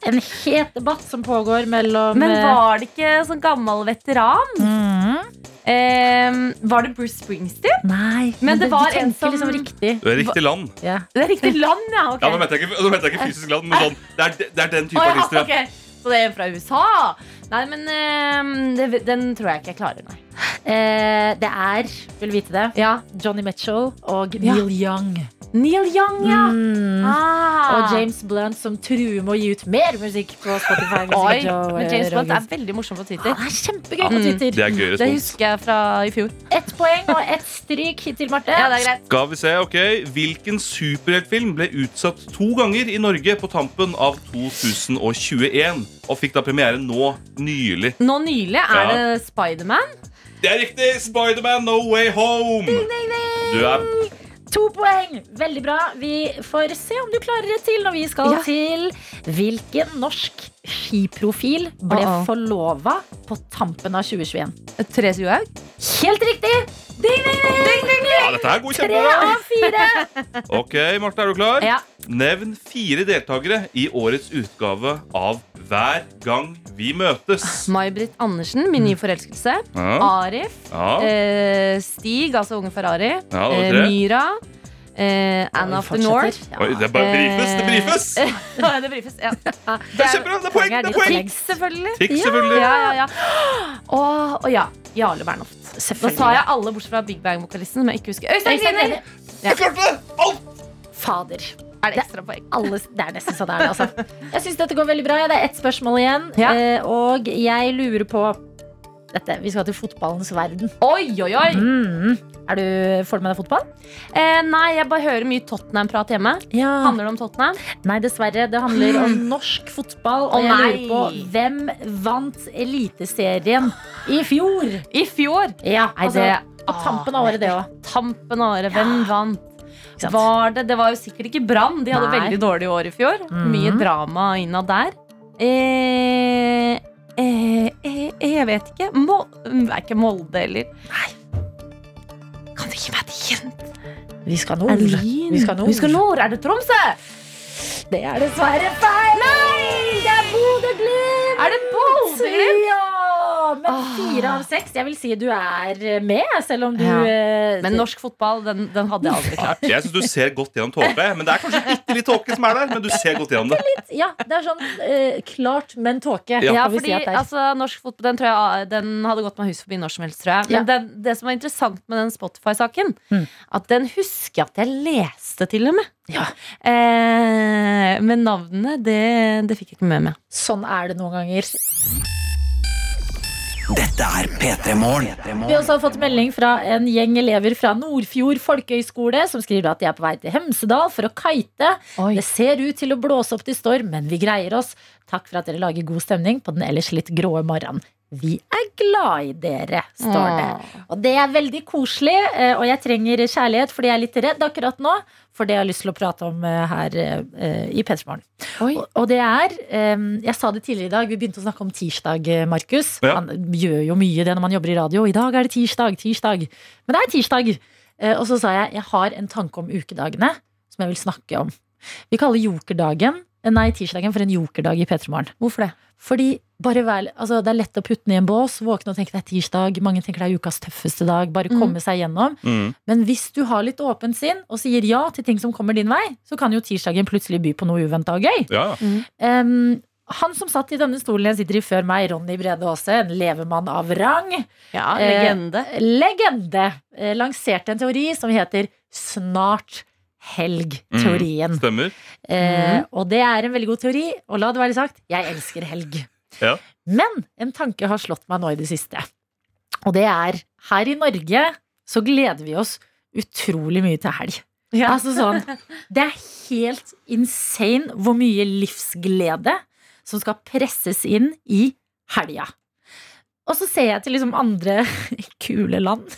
Speaker 2: En het debatt som pågår mellom
Speaker 7: Men Mm.
Speaker 2: eh,
Speaker 7: var det ikke sånn gammel veteran?
Speaker 2: Mhm.
Speaker 7: Ehm, var det Bruce Springsteen?
Speaker 2: Nei, men,
Speaker 7: det
Speaker 2: du
Speaker 7: var
Speaker 2: tenker
Speaker 7: en som-
Speaker 2: liksom riktig.
Speaker 3: Du er riktig land.
Speaker 2: Ja.
Speaker 7: Det er riktig land, ja. ok
Speaker 3: Ja, nå mente jeg ikke, nå mente jeg ikke fysisk land, men sånn, det, er, det er den type
Speaker 7: Å, ja,
Speaker 3: artister. ja.
Speaker 7: ok. Så det er fra USA? Nei, men ehm, det, den tror jeg ikke jeg klarer, nei.
Speaker 2: Eh, det er, vil du vite det,
Speaker 7: Ja.
Speaker 2: Johnny Mitchell og
Speaker 7: Ja.
Speaker 2: Neil Young.
Speaker 7: Neil Young, ja.
Speaker 2: Mm.
Speaker 7: Ah.
Speaker 2: Og James Blunt som truer med å gi ut mer musikk på Spotify. hvis
Speaker 7: Oi,
Speaker 2: ikke Joe,
Speaker 7: men
Speaker 2: eh,
Speaker 7: James Blunt
Speaker 2: Rogan-
Speaker 7: er veldig morsom på
Speaker 2: Ja,
Speaker 7: Twitter.
Speaker 2: det er kjempegøy på
Speaker 7: Mm.
Speaker 2: Twitter.
Speaker 3: Det er sånn. gøy
Speaker 7: Det
Speaker 3: respons.
Speaker 7: husker jeg fra i fjor.
Speaker 2: Ett poeng og ett stryk hittil, Marte.
Speaker 7: Ja, det er greit.
Speaker 3: Skal vi se, ok Hvilken superheltfilm ble utsatt to ganger i Norge på tampen av 2021? Og fikk da premiere nå nylig.
Speaker 7: Nå nylig er
Speaker 3: Ja.
Speaker 7: det Spiderman.
Speaker 3: Det er riktig! Spiderman No Way Home. Du er
Speaker 2: To poeng! Veldig bra. Vi får se om du klarer det til når vi skal
Speaker 7: Ja.
Speaker 2: til Hvilken norsk skiprofil ble
Speaker 7: Uh-oh.
Speaker 2: forlova på tampen av 2021?
Speaker 7: Therese Johaug?
Speaker 2: Helt riktig! Ding, ding, ding!
Speaker 3: Ja, dette her går
Speaker 2: Tre
Speaker 3: kjempebra.
Speaker 2: av fire.
Speaker 3: Ok, Marte, er du klar?
Speaker 2: Ja.
Speaker 3: Nevn fire deltakere i årets utgave av Hver gang vi møtes.
Speaker 7: May-Britt Andersen, min nye forelskelse.
Speaker 3: Mm. Ja,
Speaker 7: Arif.
Speaker 3: ja.
Speaker 7: Eh, Stig, altså unge Ferrari.
Speaker 3: Ja, det var
Speaker 7: eh,
Speaker 3: tre.
Speaker 7: Myra. Eh, Anna of the North. Eh,
Speaker 3: Oi, det bare brifes! Det brifes!
Speaker 7: Ja, det brifes, ja.
Speaker 3: Det er kjempebra! Det er poeng! det er poeng
Speaker 7: Tix, selvfølgelig.
Speaker 3: Tix,
Speaker 7: Ja,
Speaker 3: selvfølgelig.
Speaker 7: Ja, ja, ja. Og, og ja, Jarle Bernhoft. Nå sa jeg alle bortsett fra Big Bang-vokalisten, som jeg ikke husker. Øystein Griner!
Speaker 3: Jeg klarte det! Alt!
Speaker 2: Fader.
Speaker 7: Er det ekstra poeng?
Speaker 2: Alle, det er nesten sånn det er, altså. Jeg syns dette går veldig bra. Ja, Det er ett spørsmål igjen.
Speaker 7: Ja.
Speaker 2: Eh, og jeg lurer på dette. Vi skal til fotballens verden.
Speaker 7: Oi, oi, oi!
Speaker 2: Mm. Er du, får du med deg fotball?
Speaker 7: Eh, nei, jeg bare hører mye Tottenham-prat hjemme.
Speaker 2: Han-
Speaker 7: Handler det om Tottenham?
Speaker 2: Nei, dessverre. Det handler om norsk fotball. Og
Speaker 7: Å,
Speaker 2: jeg lurer
Speaker 7: nei.
Speaker 2: på hvem vant Eliteserien i fjor?
Speaker 7: I fjor!
Speaker 2: Ja,
Speaker 7: Nei,
Speaker 2: altså,
Speaker 7: det-
Speaker 2: På tampen av året, det òg.
Speaker 7: Tampen av året. Hvem vant?
Speaker 2: sant?
Speaker 7: Var det, det var jo sikkert ikke Brann. De hadde
Speaker 2: Nei.
Speaker 7: veldig dårlig år i fjor.
Speaker 2: Mhm.
Speaker 7: Mye drama innad der. Eh, eh, eh, jeg vet ikke. Mo det er ikke Molde heller. Kan du gi meg et hint?
Speaker 2: Vi skal
Speaker 7: Er
Speaker 2: nord.
Speaker 7: det Lyn?
Speaker 2: Vi skal nord.
Speaker 7: Vi skal nord. Er det Tromsø?
Speaker 2: Det er dessverre feil! Nei! Det er Bodø-Glimt!
Speaker 7: Er det Bodø?
Speaker 2: Ja! Men
Speaker 7: Ah.
Speaker 2: fire av seks. Jeg vil si du er med, selv om du
Speaker 7: Ja.
Speaker 2: eh,
Speaker 7: Men norsk fotball, den, den hadde jeg aldri klart.
Speaker 3: Jeg syns du ser godt gjennom tåka. jeg, Men det er kanskje bitte litt tåke som er der. Men du ser godt gjennom det.
Speaker 2: Ja, det er sånn eh, klart, men tåke.
Speaker 3: Ja.
Speaker 7: Ja,
Speaker 2: kan vi si
Speaker 7: fordi
Speaker 2: at det er.
Speaker 7: altså, Norsk fotball den, tror jeg, ah, den hadde gått meg hus forbi når som helst, tror jeg. Men den, det som var interessant med den Spotify-saken,
Speaker 2: Mm.
Speaker 7: at den husker jeg at jeg leste, til og med.
Speaker 2: Ja.
Speaker 7: Eh, men navnene, det, det fikk jeg ikke med meg.
Speaker 2: Sånn er det noen ganger.
Speaker 8: Dette er P3 Morgen.
Speaker 2: Vi har også fått melding fra en gjeng elever fra Nordfjord folkehøgskole som skriver at de er på vei til Hemsedal for å kite.
Speaker 7: Oi.
Speaker 2: Det ser ut til å blåse opp til storm, men vi greier oss. Takk for at dere lager god stemning på den ellers litt gråe morgenen. Vi er glad i dere, står det. Og det er veldig koselig, eh, og jeg trenger kjærlighet fordi jeg er litt redd akkurat nå. For det jeg har lyst til å prate om eh, her eh, i P3morgen.
Speaker 7: Oi.
Speaker 2: Og, og det er eh, Jeg sa det tidligere i dag, vi begynte å snakke om tirsdag, eh, Markus.
Speaker 3: Ja.
Speaker 2: Man gjør jo mye det når man jobber i radio. I dag er det tirsdag, tirsdag. Men det er tirsdag. Eh, og så sa jeg jeg har en tanke om ukedagene som jeg vil snakke om. Vi kaller jokerdagen, eh, nei, tirsdagen for en jokerdag i P3morgen. Hvorfor det? Fordi bare vær, altså, det er lett å putte den i en bås, våkne og tenke det er tirsdag. Mange tenker det er ukas tøffeste dag. Bare
Speaker 7: Mm.
Speaker 2: komme seg gjennom. Men hvis du har litt åpent sinn og sier ja til ting som kommer din vei, så kan jo tirsdagen plutselig by på noe uventa og gøy.
Speaker 3: Ja, ja.
Speaker 2: Em, han som satt i denne stolen jeg sitter i før meg, Ronny Brede Aase, en levemann av rang,
Speaker 7: Ja,
Speaker 2: Eh,
Speaker 7: legende.
Speaker 2: legende, eh, lanserte en teori som heter snart helg-teorien.
Speaker 3: Stemmer.
Speaker 2: Eh,
Speaker 7: Mhm.
Speaker 2: og det er en veldig god teori, og la det være sagt, jeg elsker helg.
Speaker 3: Ja.
Speaker 2: Men en tanke har slått meg nå i det siste. Og det er, her i Norge så gleder vi oss utrolig mye til helg.
Speaker 7: Ja.
Speaker 2: Altså sånn, det er helt insane hvor mye livsglede som skal presses inn i helga. Og så ser jeg til liksom andre kule land.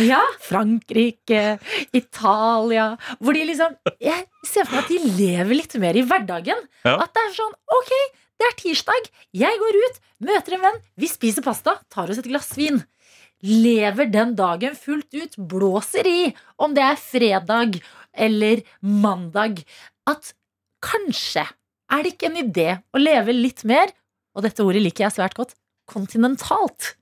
Speaker 7: Ja.
Speaker 2: Frankrike, Italia Hvor de liksom Jeg ser for meg at de lever litt mer i hverdagen.
Speaker 3: Ja.
Speaker 2: At det er sånn Ok, det er tirsdag. Jeg går ut, møter en venn. Vi spiser pasta, tar oss et glass vin. Lever den dagen fullt ut. Blåser i. Om det er fredag eller mandag. At kanskje er det ikke en idé å leve litt mer, og dette ordet liker jeg svært godt, kontinentalt.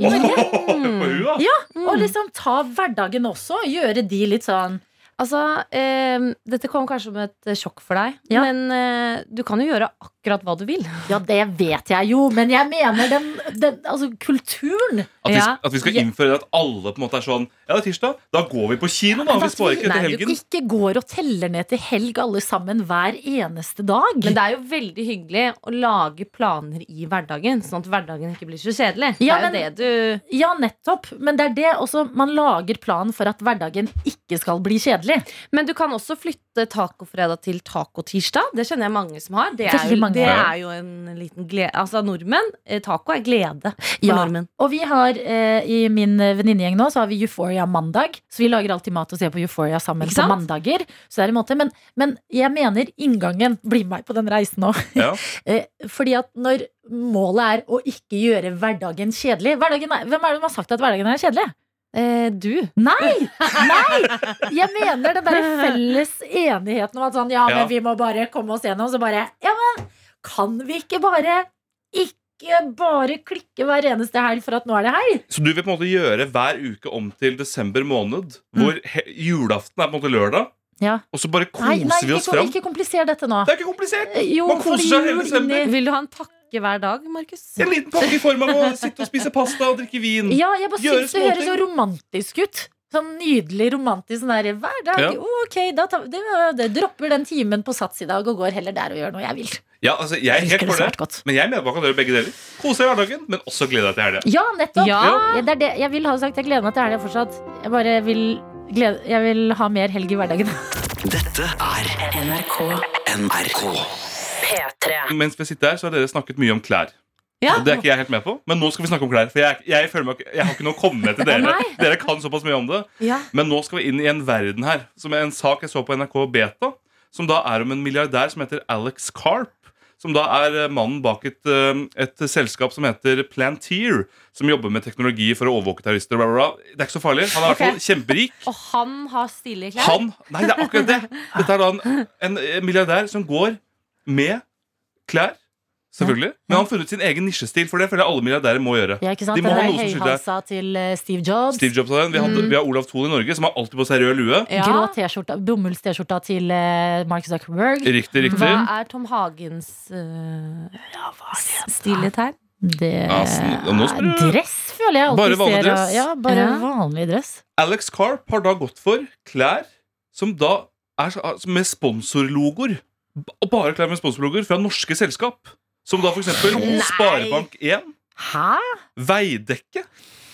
Speaker 2: I Norge.
Speaker 3: På huet, da.
Speaker 7: Mm.
Speaker 2: Og liksom ta hverdagen også, og gjøre de litt sånn
Speaker 7: Altså, eh, dette kom kanskje som et eh, sjokk for deg,
Speaker 2: Ja.
Speaker 7: men eh, du kan jo gjøre akkurat hva du vil.
Speaker 2: Ja, det vet jeg jo, men jeg mener den, den altså kulturen.
Speaker 3: At vi,
Speaker 7: Ja.
Speaker 3: at vi skal innføre det at alle på en måte er sånn Ja, det er tirsdag. Da går vi på kino, da. Vi sparer ikke
Speaker 2: Nei,
Speaker 3: til
Speaker 2: du
Speaker 3: helgen.
Speaker 2: ikke går og teller ned til helg alle sammen hver eneste dag.
Speaker 7: Men det er jo veldig hyggelig å lage planer i hverdagen, sånn at hverdagen ikke blir så kjedelig.
Speaker 2: Ja,
Speaker 7: det
Speaker 2: men-
Speaker 7: er jo det du
Speaker 2: Ja, nettopp. Men det er det også. Man lager planen for at hverdagen ikke skal bli kjedelig.
Speaker 7: Men du kan også flytte tacofredag til tacotirsdag. Det kjenner jeg mange som har. Det er,
Speaker 2: Veldig
Speaker 7: jo-
Speaker 2: mange.
Speaker 7: det er jo en liten glede Altså, nordmenn eh, Taco er glede for
Speaker 2: Ja.
Speaker 7: nordmenn.
Speaker 2: Og vi har eh, i min venninnegjeng nå Så har vi Euphoria mandag. Så vi lager alltid mat og ser på Euphoria sammen
Speaker 7: Ikke
Speaker 2: på
Speaker 7: sant?
Speaker 2: mandager. Så det er en måte Men, men jeg mener inngangen Bli med meg på den reisen nå.
Speaker 3: Ja.
Speaker 2: Eh, fordi at når målet er å ikke gjøre hverdagen kjedelig hverdagen er, Hvem er det som har sagt at hverdagen er kjedelig?
Speaker 7: Eh, du.
Speaker 2: Nei! Nei! Jeg mener den der felles enigheten om at sånn, ja,
Speaker 3: Ja.
Speaker 2: men vi må bare komme oss gjennom, så bare Ja, men kan vi ikke bare ikke bare klikke hver eneste helg for at nå er det helg?
Speaker 3: Så du vil på en måte gjøre hver uke om til desember måned, hvor he julaften er på en måte lørdag,
Speaker 2: Mm. Ja.
Speaker 3: og så bare
Speaker 2: Nei,
Speaker 3: koser
Speaker 2: nei
Speaker 3: vi
Speaker 2: ikke,
Speaker 3: oss fram.
Speaker 2: ikke kompliser dette nå.
Speaker 3: Det er ikke komplisert!
Speaker 2: Eh, Jo,
Speaker 3: Man koser
Speaker 2: fordi
Speaker 3: seg
Speaker 2: jul
Speaker 3: hele desember.
Speaker 2: inn i-
Speaker 7: Vil du ha en pakke hver dag, Markus?
Speaker 3: En liten pakke i form av å sitte og spise pasta og drikke vin.
Speaker 2: Ja, jeg bare
Speaker 3: Mm. Gjøre
Speaker 2: syns det høres
Speaker 3: småting.
Speaker 2: så romantisk ut. Sånn nydelig romantisk sånn der hver dag.
Speaker 3: Ja.
Speaker 2: Oh, ok, da tar, det, det dropper den timen på Sats i dag og går heller der og gjør noe jeg vil.
Speaker 3: Ja, altså, jeg er
Speaker 2: Virker det
Speaker 3: helt for det.
Speaker 2: svært godt.
Speaker 3: Men jeg mener man kan gjøre begge deler. Kose deg i hverdagen, men også glede deg til helga.
Speaker 2: Ja, nettopp.
Speaker 7: Ja.
Speaker 2: Ja, Det er det. Jeg vil ha sagt, jeg gleder meg til helga fortsatt. Jeg bare vil, glede, jeg vil ha mer helg i hverdagen.
Speaker 8: Dette er NRK.
Speaker 3: Mens vi sitter her, så har dere snakket mye om klær.
Speaker 7: Ja.
Speaker 3: Og Det er ikke jeg helt med på, men nå skal vi snakke om klær. For jeg, jeg føler meg ikke- Jeg har ikke noe å komme med til dere.
Speaker 2: Nei.
Speaker 3: dere kan såpass mye om det.
Speaker 7: Ja.
Speaker 3: Men nå skal vi inn i en verden her. Som er en sak jeg så på NRK Beta, som da er om en milliardær som heter Alex Carp. Som da er eh, mannen bak et, eh, et selskap som heter Planteer. Som jobber med teknologi for å overvåke terrorister. Bla, bla, bla. Det er ikke så farlig. Han er i hvert fall kjemperik.
Speaker 7: Og han har stilige klær.
Speaker 3: Han, nei, det er akkurat det. Dette er da en, en eh, milliardær som går med klær, selvfølgelig. Men han har funnet sin egen nisjestil, for det føler jeg alle milliardærer må gjøre.
Speaker 2: Ja, ikke sant?
Speaker 3: De må
Speaker 2: Den
Speaker 3: ha
Speaker 2: der
Speaker 3: noe som skylder deg.
Speaker 2: høyhalsa til eh, Steve Jobs.
Speaker 3: Steve Jobs har den. Vi, hadde, vi har Olav Thon i Norge, som har alltid på seg rød lue.
Speaker 7: Mm. Ja.
Speaker 2: Grå t-skjorta, bommulls-T-skjorta til eh, Mark Zuckerberg.
Speaker 3: Riktig, riktig.
Speaker 7: Hva er Tom Hagens uh, stilige tegn?
Speaker 2: Det
Speaker 3: Ja, sn- og nå
Speaker 2: er
Speaker 3: spør du-
Speaker 2: dress, føler jeg. alltid
Speaker 3: Bare
Speaker 2: ser,
Speaker 3: vanlig dress?
Speaker 2: Ja, bare
Speaker 7: Ja.
Speaker 2: vanlig dress.
Speaker 3: Alex Carp har da gått for klær som da er så- altså med sponsorlogoer. B- Og bare klær med sponsorlogoer fra norske selskap. Som da for eksempel
Speaker 7: Nei.
Speaker 3: Sparebank1,
Speaker 2: Hæ?
Speaker 3: Veidekke,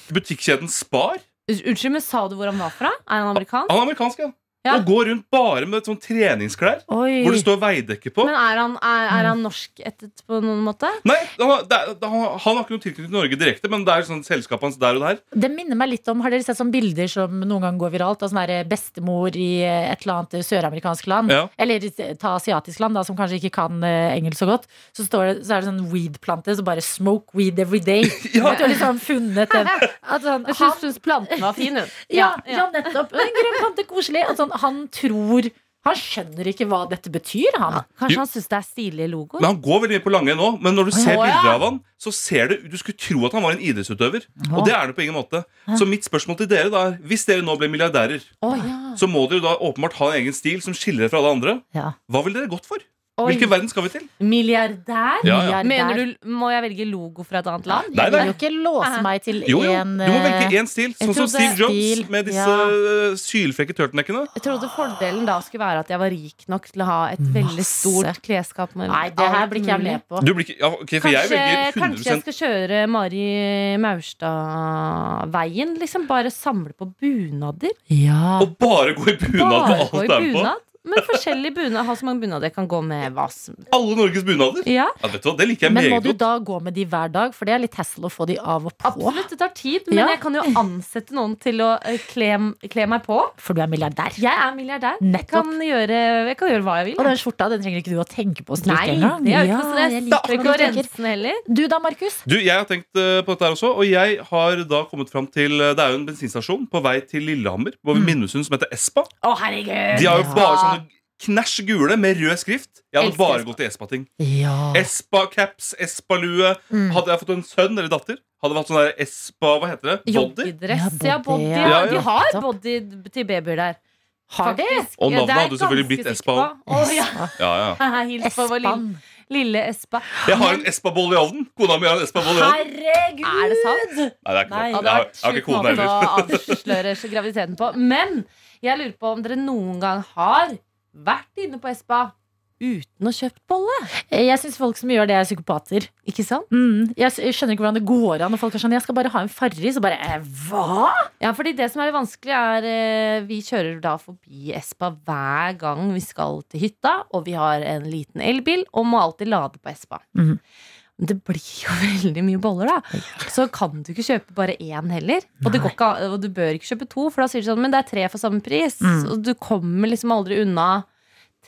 Speaker 3: butikkjeden Spar.
Speaker 7: Unnskyld, men sa du hvor han var fra? Er han amerikansk?
Speaker 3: Han er amerikansk, ja.
Speaker 7: Ja.
Speaker 3: Og går rundt bare med sånn treningsklær.
Speaker 2: Oi. Mm.
Speaker 3: Hvor det står veidekke på.
Speaker 7: Men er han, er, er han norskættet på noen måte?
Speaker 3: Nei, han har, det, er- han, har- han har ikke noen tilknytning til Norge direkte, men det er jo sånn selskapet hans der og der.
Speaker 2: Det minner meg litt om, Har dere sett sånne bilder som noen gang går viralt? Av sånn der bestemor i et eller annet søramerikansk land?
Speaker 3: Ja.
Speaker 2: Eller ta asiatisk land, da, som kanskje ikke kan eh, engelsk så godt. Så, står det, så er det sånn weed-plante som bare 'smoke weed every day'. At du har liksom funnet den at sånn,
Speaker 7: Jeg
Speaker 2: han,
Speaker 7: syns planten var fin, hun.
Speaker 2: ja, ja, nettopp. En grønn plante, koselig. At sånn, han tror Han skjønner ikke hva dette betyr, han.
Speaker 7: Kanskje han syns det er stilige logoer?
Speaker 3: Men Han går veldig mye på lange nå, men når du ser
Speaker 2: Å, ja.
Speaker 3: bilder av han, så ser du Du skulle tro at han var en idrettsutøver. Og det er det på ingen måte. Så mitt spørsmål til dere da er hvis dere nå ble milliardærer,
Speaker 2: Å, ja.
Speaker 3: så må dere jo da åpenbart ha en egen stil som skiller dere fra alle andre.
Speaker 2: Ja.
Speaker 3: Hva ville dere gått for?
Speaker 7: Oi.
Speaker 3: Hvilken verden skal vi til?
Speaker 7: Milliardær?
Speaker 2: Milliardær.
Speaker 3: Ja, ja.
Speaker 7: Mener du, Må jeg velge logo fra et annet land?
Speaker 3: Nei,
Speaker 2: Jeg vil
Speaker 3: nei.
Speaker 2: jo ikke låse meg til eh,
Speaker 3: Jo, jo.
Speaker 2: én
Speaker 3: Du må velge én stil,
Speaker 2: jeg
Speaker 3: sånn som
Speaker 2: trodde-
Speaker 3: Steve Jobs
Speaker 2: stil,
Speaker 3: med disse
Speaker 2: ja.
Speaker 3: øh, sylfrekke turtleneckene.
Speaker 7: Jeg trodde fordelen da skulle være at jeg var rik nok til å ha et veldig stort klesskap. med
Speaker 2: Nei, det her
Speaker 7: alt
Speaker 2: blir ikke jeg
Speaker 7: mulig.
Speaker 2: med på.
Speaker 3: Du blir ikke ja, ok, for jeg
Speaker 7: Kanskje,
Speaker 3: velger
Speaker 7: kanskje jeg
Speaker 3: 100
Speaker 7: skal kjøre Mari Maurstad-veien? Liksom bare samle på bunader?
Speaker 2: Ja.
Speaker 3: Og bare gå i bunad med
Speaker 7: Bare gå
Speaker 3: alt det
Speaker 7: i
Speaker 3: er på.
Speaker 7: bunad? Men forskjellig bunad. Ha så mange bunader jeg kan gå med hva som
Speaker 3: Alle Norges bunader.
Speaker 7: Ja,
Speaker 3: Ja, vet du hva, Det liker jeg
Speaker 2: Men må
Speaker 3: meget
Speaker 2: du
Speaker 3: godt.
Speaker 2: da gå med de hver dag? For det er litt hassle å få de av og på.
Speaker 7: absolutt. Det tar tid, men
Speaker 2: Ja.
Speaker 7: jeg kan jo ansette noen til å eh, kle, kle meg på.
Speaker 2: For du er milliardær.
Speaker 7: Jeg er milliardær. Jeg
Speaker 2: Nettopp.
Speaker 7: kan gjøre, jeg kan gjøre hva jeg vil.
Speaker 2: Og den skjorta den trenger ikke du å tenke på å
Speaker 7: Nei,
Speaker 2: stryke
Speaker 7: det
Speaker 2: engang.
Speaker 7: er jo
Speaker 2: Ja,
Speaker 7: ikke noe stress.
Speaker 2: jeg
Speaker 7: Jeg
Speaker 2: liker
Speaker 7: trenger ikke å
Speaker 2: hvordan du tenker.
Speaker 7: rense den heller.
Speaker 2: Du da, Markus?
Speaker 3: Du, Jeg har tenkt eh, på dette her også, og jeg har da kommet fram til eh, Det er jo en bensinstasjon på vei til Lillehammer, hvor
Speaker 2: Mm.
Speaker 3: Minnesund som heter Espa.
Speaker 2: Å, herregud!
Speaker 3: De har jo
Speaker 2: Ja.
Speaker 3: bare sånne knæsj gule med rød skrift. Jeg hadde
Speaker 7: Elsker
Speaker 3: bare
Speaker 7: Espa.
Speaker 3: gått i Espa-ting.
Speaker 2: Ja.
Speaker 3: Espa-caps, Espa-lue.
Speaker 2: Mm.
Speaker 3: Hadde jeg fått en sønn eller datter, hadde vi hatt sånn der Espa Hva heter det? Body?
Speaker 2: Ja,
Speaker 7: Joggedress.
Speaker 2: body,
Speaker 7: Ja, body.
Speaker 2: ja.
Speaker 7: Ja,
Speaker 3: Ja, ja.
Speaker 7: De har body til babyer der.
Speaker 2: Har de?
Speaker 7: Faktisk.
Speaker 3: Og
Speaker 7: Ja,
Speaker 3: navnet
Speaker 7: det er
Speaker 3: hadde jo selvfølgelig
Speaker 7: ganske
Speaker 3: blitt
Speaker 7: sikker
Speaker 3: Espa
Speaker 7: på. Å, ja.
Speaker 3: Ja, ja.
Speaker 7: Hils på vår lille
Speaker 2: Espan.
Speaker 7: Lille Espa.
Speaker 3: Jeg har en Espa-boll i ovnen! Kona mi har en Espa-boll i ovnen.
Speaker 2: Herregud!
Speaker 7: Er det sant?
Speaker 3: Nei, det er ikke
Speaker 2: Nei.
Speaker 3: sant.
Speaker 7: Ja,
Speaker 3: Jeg har,
Speaker 7: det hadde
Speaker 3: jeg har ikke
Speaker 7: vært sjuk
Speaker 3: kone
Speaker 7: måte
Speaker 3: heller.
Speaker 7: å avsløre graviditeten på. Men jeg lurer på om dere noen gang har vært inne på Espa uten å kjøpt bolle.
Speaker 2: Jeg syns folk som gjør det, er psykopater.
Speaker 7: Ikke sant?
Speaker 2: Mm. Jeg s- jeg skjønner ikke hvordan det går an. Og folk er sånn, jeg skal bare ha en farris. Og bare eh, hva?
Speaker 7: Ja, fordi det som er litt vanskelig, er eh, Vi kjører da forbi Espa hver gang vi skal til hytta, og vi har en liten elbil og må alltid lade på Espa.
Speaker 2: Mhm.
Speaker 7: Men det blir jo veldig mye boller, da. Så kan du ikke kjøpe bare én heller. Og, det går ikke, an- og du bør ikke kjøpe to, for da sier de sånn Men det er tre for samme pris.
Speaker 2: Mhm.
Speaker 7: Og du kommer liksom aldri unna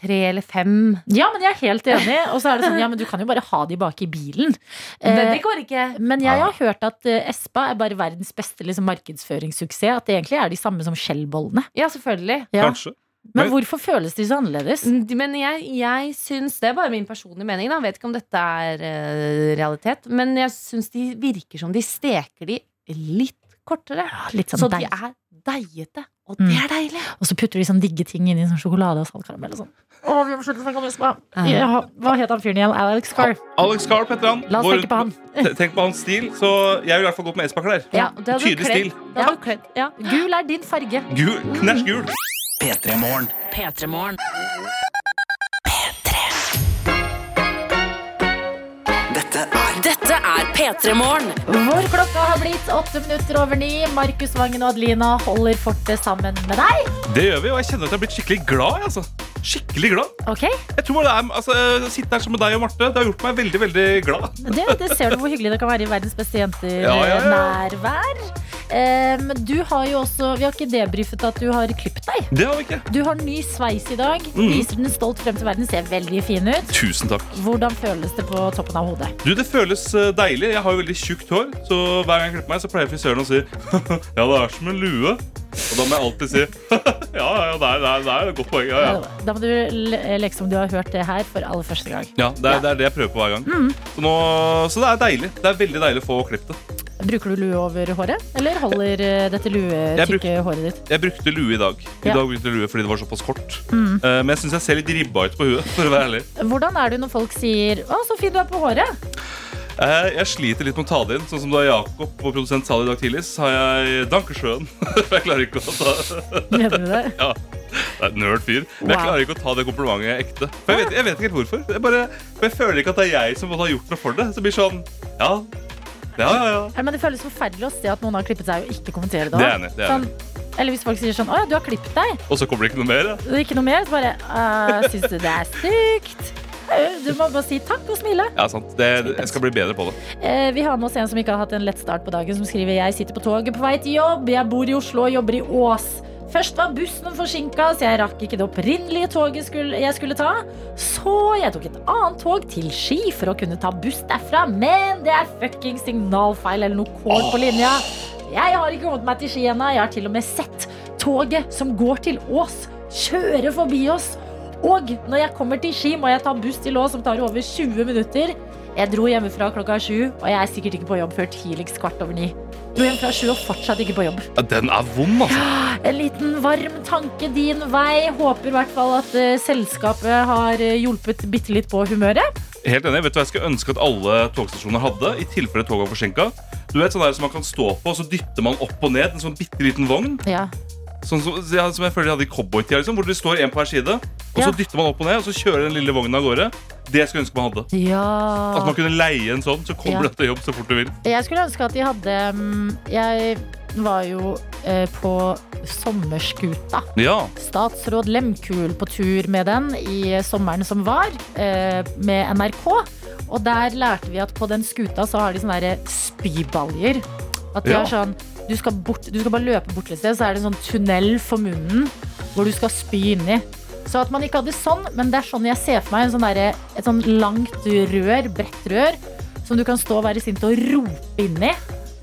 Speaker 7: tre eller fem.
Speaker 2: Ja, men jeg er helt enig. Og så er det sånn, ja, men du kan jo bare ha de bak i bilen.
Speaker 7: Men
Speaker 2: Eh,
Speaker 7: det går ikke.
Speaker 2: men jeg har hørt at eh, Espa er bare verdens beste liksom, markedsføringssuksess. At det egentlig er de samme som Shell-bollene.
Speaker 7: Ja, selvfølgelig.
Speaker 2: Ja.
Speaker 3: Kanskje.
Speaker 2: Men
Speaker 3: Men-
Speaker 2: hvorfor føles de så annerledes?
Speaker 7: Mm, Men jeg, jeg syns Det er bare min personlige mening. Da. Jeg vet ikke om dette er eh, realitet. Men jeg syns de virker som de steker de litt kortere.
Speaker 2: Ja, litt
Speaker 7: Så
Speaker 2: sånn
Speaker 7: de
Speaker 2: deig.
Speaker 7: er deigete. Og
Speaker 2: Mm.
Speaker 7: det er deilig.
Speaker 2: Og så putter de sånn digge ting inn i sånn sjokolade og saltkaramell og sånn. Å, vi må slutte å snakke om Espa.
Speaker 7: Ja.
Speaker 2: Ja, hva het han fyren igjen? Alex Carr.
Speaker 3: Alex Carp heter han.
Speaker 2: La oss
Speaker 3: Går
Speaker 2: tenke på han.
Speaker 3: rundt- Te- Tenk på hans stil. Så jeg vil i hvert fall gå på med Espa-klær.
Speaker 7: Ja, det hadde
Speaker 3: Tydelig stil.
Speaker 7: kledd- det hadde kledd- Ja.
Speaker 2: Gul er din farge.
Speaker 3: Gul, knæsj gul.
Speaker 8: P3-morgen. Dette er
Speaker 2: Hvor klokka har blitt åtte minutter over ni. Markus Vangen og Adelina holder fortet sammen med deg.
Speaker 3: Det gjør vi, og jeg kjenner at jeg har blitt skikkelig glad. jeg, Altså. Skikkelig glad.
Speaker 2: Ok,
Speaker 3: Jeg tror det er, altså, Å sitte her sammen med deg og Marte, det har gjort meg veldig veldig glad.
Speaker 2: det, det ser du hvor hyggelig det kan være i verdens beste jenter
Speaker 3: Ja, ja, ja.
Speaker 2: nærvær. Em, du har jo også, Vi har ikke debrifet at du har klippet deg.
Speaker 3: Det har vi ikke.
Speaker 2: Du har ny sveis i dag.
Speaker 3: Mhm.
Speaker 2: Viser den stolt frem til verden. Ser veldig fin ut.
Speaker 3: Tusen takk.
Speaker 2: Hvordan føles det på toppen av hodet?
Speaker 3: Du, Det føles eh, deilig. Jeg har jo veldig tjukt hår, så hver gang jeg klipper meg, så pleier frisøren å si Ja, det er som en lue. Og da må jeg alltid si Ja, ja, ja, det er, det er, det er et godt poeng. Ja, ja.
Speaker 2: Da må du le- leke som du har hørt det her for aller første gang.
Speaker 3: ja det, er, det er det jeg prøver på hver gang.
Speaker 2: Mm.
Speaker 3: Så, nå, så det er deilig. Det er veldig deilig å få klippet det.
Speaker 2: Bruker du lue over håret, eller holder eh, dette luetykke håret ditt?
Speaker 3: Jeg brukte lue i dag. I
Speaker 2: Ja. Mm.
Speaker 3: dag brukte jeg lue fordi det var såpass kort. Eh, Men jeg syns jeg ser litt ribba ut på huet, for å være ærlig.
Speaker 2: Hvordan er du når folk sier 'Å, så fin du er på håret'?
Speaker 3: Eh, Jeg sliter litt med å ta det inn. Sånn som da Jakob, vår produsent, sa det i dag tidlig, så har jeg Dankersjøen. Jeg klarer ikke å ta
Speaker 2: Mener du det?
Speaker 3: Ja, det er en nerd fyr. Men jeg
Speaker 2: Wow.
Speaker 3: klarer ikke å ta det komplimentet ekte. For jeg vet, jeg vet ikke helt hvorfor. Jeg, bare, for jeg føler ikke at det er jeg som måtte ha gjort noe for det. Så det blir sånn, ja, ja, ja, ja.
Speaker 2: Ja, Men det føles forferdelig å se at noen har klippet seg og ikke kommentere det.
Speaker 3: Det er enig, det er
Speaker 2: Sånn, eller hvis folk sier sånn 'Å ja, du har klippet deg',
Speaker 3: Og så kommer det ikke noe mer. ja.
Speaker 2: det er ikke noe mer. Så bare «Æ, 'Syns du det er stygt'? Eh, Du må bare si takk og smile.
Speaker 3: Ja, sant. Det, jeg skal bli bedre på det.
Speaker 2: Eh, vi har med oss en som ikke har hatt en lett start på dagen, som skriver 'Jeg sitter på toget på vei til jobb. Jeg bor i Oslo og jobber i Ås'. Først var bussen forsinka, så jeg rakk ikke det opprinnelige toget skulle, jeg skulle ta. Så jeg tok et annet tog til Ski for å kunne ta buss derfra, men det er fucking signalfeil eller noe kål på linja. Jeg har ikke kommet meg til Ski ennå. Jeg har til og med sett toget som går til Ås, kjøre forbi oss. Og når jeg kommer til Ski, må jeg ta buss til Ås, som tar over 20 minutter. Jeg dro hjemmefra klokka sju, og jeg er sikkert ikke på jobb før tidligst kvart over ni. Dro hjem fra sju og fortsatt ikke på jobb.
Speaker 3: Ja, den er vond, altså.
Speaker 2: En liten varm tanke din vei. Håper i hvert fall at eh, selskapet har eh, hjulpet bitte litt på humøret.
Speaker 3: Helt enig. Vet du hva jeg skulle ønske at alle togstasjoner hadde? I tilfelle toget var forsinka. Du vet sånn der som man kan stå på, og så dytter man opp og ned en sånn bitte liten vogn?
Speaker 2: Ja.
Speaker 3: Sånn som, ja, som jeg føler de hadde i cowboytida, liksom, hvor det står en på hver side, og
Speaker 2: Ja.
Speaker 3: så dytter man opp og ned, og så kjører den lille vogna av gårde. Det skulle jeg ønske man hadde. At man kunne leie en sånn, så kommer
Speaker 2: Ja.
Speaker 3: du til jobb så fort du vil.
Speaker 2: Jeg skulle ønske at de hadde mm, Jeg var jo eh, på sommerskuta.
Speaker 3: Ja,
Speaker 2: Statsråd Lemkul på tur med den i sommeren som var, eh, med NRK. Og der lærte vi at på den skuta så har de sånne der spybaljer. At de
Speaker 3: Ja.
Speaker 2: har sånn du skal, bort, du skal bare løpe bort til et sted, så er det en sånn tunnel for munnen hvor du skal spy inni. Så at man ikke hadde sånn, men det er sånn jeg ser for meg en sånn derre- et sånn langt rør, bredt rør, som du kan stå og være sint og rope inni.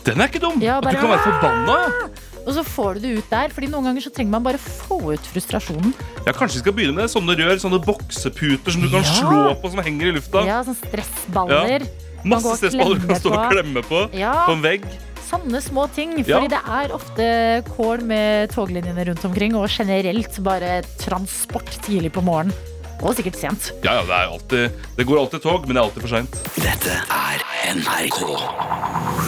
Speaker 3: Den er ikke dum!
Speaker 2: Ja,
Speaker 3: At
Speaker 2: bare-
Speaker 3: du kan være forbanna. ja.
Speaker 2: Og så får du det ut der, Fordi noen ganger så trenger man bare få ut frustrasjonen.
Speaker 3: Ja, Kanskje vi skal begynne med sånne rør, sånne bokseputer som du kan
Speaker 2: Ja.
Speaker 3: slå på, som henger i lufta.
Speaker 2: Ja, sånn stressballer. man går
Speaker 3: Masse
Speaker 2: og
Speaker 3: stressballer du kan stå og klemme på.
Speaker 2: Ja,
Speaker 3: På en vegg.
Speaker 2: sånne små ting.
Speaker 3: Ja.
Speaker 2: Fordi det er ofte kål med toglinjene rundt omkring, og generelt bare transport tidlig på morgenen. Og sikkert sent.
Speaker 3: Ja, ja, det, er alltid, det går alltid tog, men det er alltid for seint.
Speaker 8: Dette er NRK.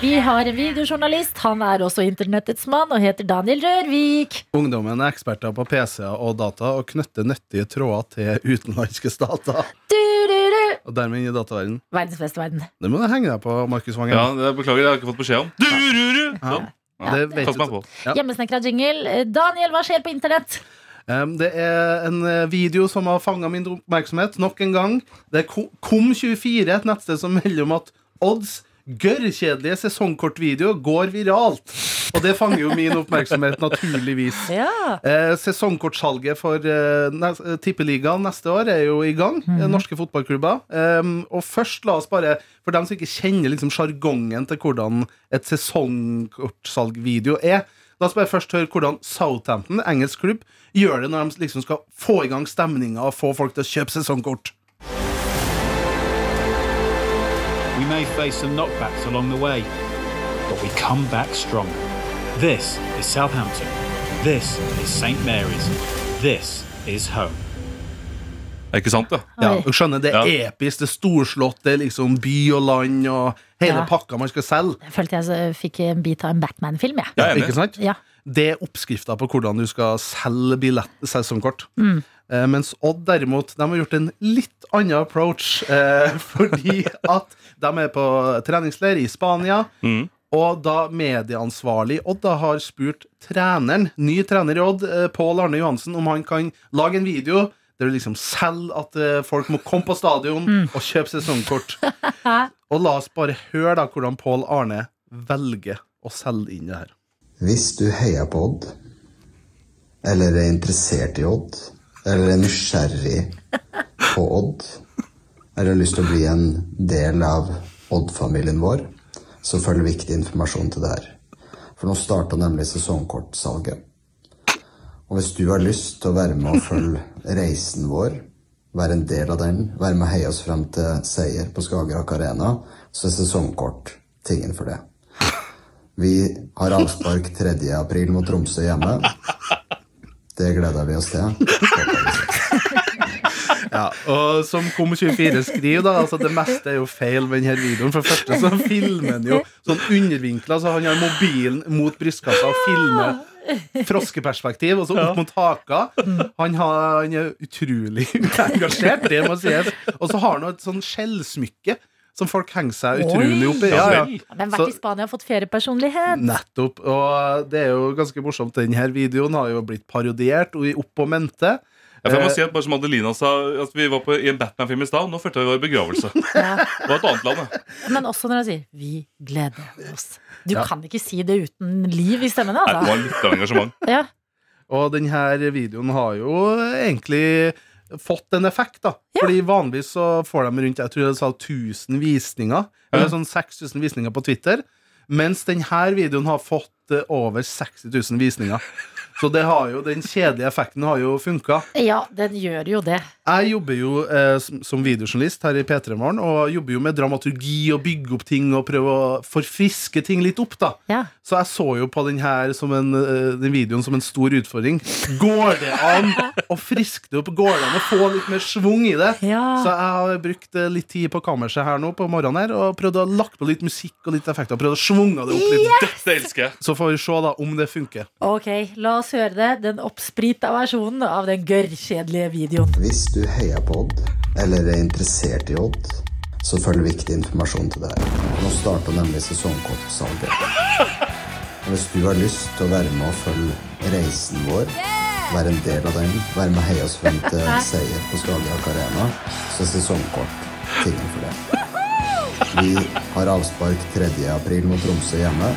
Speaker 2: Vi har en videojournalist. Han er også internettets mann og heter Daniel Rørvik.
Speaker 9: Ungdommen er eksperter på PC-er og data og knytter nyttige tråder til utenlandske stater.
Speaker 2: Du, du, du.
Speaker 9: Og dermed inn i dataverdenen.
Speaker 2: Verdens beste verden.
Speaker 9: Det må du henge deg på, Markus Vangen.
Speaker 3: Ja, det beklager, jeg har ikke fått beskjed om. Du, du, du. Sånn.
Speaker 9: Det, vet
Speaker 3: Kast
Speaker 9: du.
Speaker 3: meg på.
Speaker 9: Ja.
Speaker 2: Hjemmesnekra jingle. Eh, Daniel, hva skjer på internett?
Speaker 9: Em, det er en eh, video som har fanga min oppmerksomhet nok en gang. Det er Ko- Kom24, et nettsted som melder om at odds gørrkjedelige sesongkortvideo går viralt. Og det fanger jo min oppmerksomhet, naturligvis.
Speaker 2: Ja.
Speaker 9: Eh, sesongkortsalget for eh, nes- eh, Tippeligaen neste år er jo i gang.
Speaker 2: Mhm.
Speaker 9: eh, Norske fotballklubber. Em, og først, la oss bare, for dem som ikke kjenner liksom sjargongen til hvordan et sesongkortsalgvideo er La oss bare først høre hvordan Southampton, engelsk klubb, gjør det når de liksom skal få i gang stemninga og få folk til å kjøpe sesongkort.
Speaker 10: We may face some knockbacks along the way, but we come back strong. This is Southampton. This is St Mary's. This is home.
Speaker 3: Er ikke sant, da?
Speaker 9: Ja,
Speaker 2: Oi.
Speaker 9: du skjønner, Det er
Speaker 3: Ja.
Speaker 9: episk, det er storslått, det er liksom by og land og hele
Speaker 2: Ja.
Speaker 9: pakka man skal selge.
Speaker 2: Jeg følte jeg så- fikk en bit av en Batman-film, jeg.
Speaker 3: Jeg er enig.
Speaker 9: Ikke sant?
Speaker 2: Ja.
Speaker 9: Det er oppskrifta på hvordan du skal selge billett, sesongkort. Eh, mens Odd derimot de har gjort en litt annen approach. Eh, fordi at de er på treningsleir i Spania.
Speaker 3: Mm.
Speaker 9: Og da medieansvarlig Odd da har spurt treneren, ny trener i Odd, eh, Pål Arne Johansen, om han kan lage en video der du liksom selger at eh, folk må komme på stadion og kjøpe sesongkort. og la oss bare høre da hvordan Pål Arne velger å selge inn det her.
Speaker 11: Hvis du heier på Odd, eller er interessert i Odd, eller er nysgjerrig på Odd, eller har lyst til å bli en del av Odd-familien vår, så følger viktig informasjon til det her. For nå starter nemlig sesongkortsalget. Og hvis du har lyst til å være med og følge reisen vår, være en del av den, være med og heie oss frem til seier på Skagerrak Arena, så er sesongkort tingen for det. Vi har avspark 3. april mot Tromsø hjemme. Det gleder vi oss til.
Speaker 9: Ja, og som Kom24 skriver, da, altså det meste er jo feil med denne videoen. For det første så filmer han jo sånn undervinkla, så han har mobilen mot brystkassa og filmer froskeperspektiv, og så opp mot haka. Han, har, han er utrolig engasjert, det må sies. Og så har han jo et sånn skjellsmykke som folk henger seg utrolig opp i. Ja, ja.
Speaker 2: Men
Speaker 9: Så-
Speaker 2: vært i Spania og fått feriepersonlighet.
Speaker 9: Nettopp. Og det er jo ganske morsomt. Denne videoen har jo blitt parodiert og i Opp og mente.
Speaker 3: Ja, for jeg må si at bare som Adelina sa at Vi var på, i en Batman-film i stad. Nå følte jeg vi var i begravelse. Det
Speaker 2: Ja.
Speaker 3: var et annet land. jeg.
Speaker 2: Men også når han sier 'vi gleder oss'. Du kan ikke si det uten liv i stemmen,
Speaker 3: Nei, det
Speaker 2: altså.
Speaker 3: var litt av engasjement.
Speaker 2: Ja.
Speaker 9: Og denne videoen har jo egentlig fått en effekt, da. Fordi vanligvis så får de rundt jeg tror jeg sa 1000 visninger, eller sånn 6000 visninger på Twitter. Mens denne videoen har fått eh, over 60 000 visninger. Så det har jo, den kjedelige effekten har jo funka.
Speaker 2: ja, den gjør jo det.
Speaker 9: Jeg jobber jo eh, som- som videojournalist her i P3 Morgen, og jobber jo med dramaturgi og bygge opp ting og prøve å forfriske ting litt opp, da.
Speaker 2: Ja.
Speaker 9: Så jeg så jo på den her som en, eh, den videoen som en stor utfordring. Går det an å friske det opp? Går det an å få litt mer schwung i det?
Speaker 2: Ja.
Speaker 9: Så jeg har brukt eh, litt tid på kammerset her nå på morgenen her og prøvd å lagt på litt musikk og litt effekter. Prøvd å schwunge det opp litt.
Speaker 3: Dette elsker jeg.
Speaker 9: Så får vi se da om det funker.
Speaker 2: Ok, la oss høre det. Den oppsprita versjonen av den gørrkjedelige videoen.
Speaker 11: Hvis du heier på Odd, eller er interessert i Odd, så følger viktig informasjon til deg. Nå starter nemlig sesongkortsalget. Og hvis du har lyst til å være med og følge reisen vår, være en del av den, være med og heie oss frem til seier på Skagerrak Arena, så er sesongkort tingen for det. Vi har avspark 3. april mot Tromsø hjemme.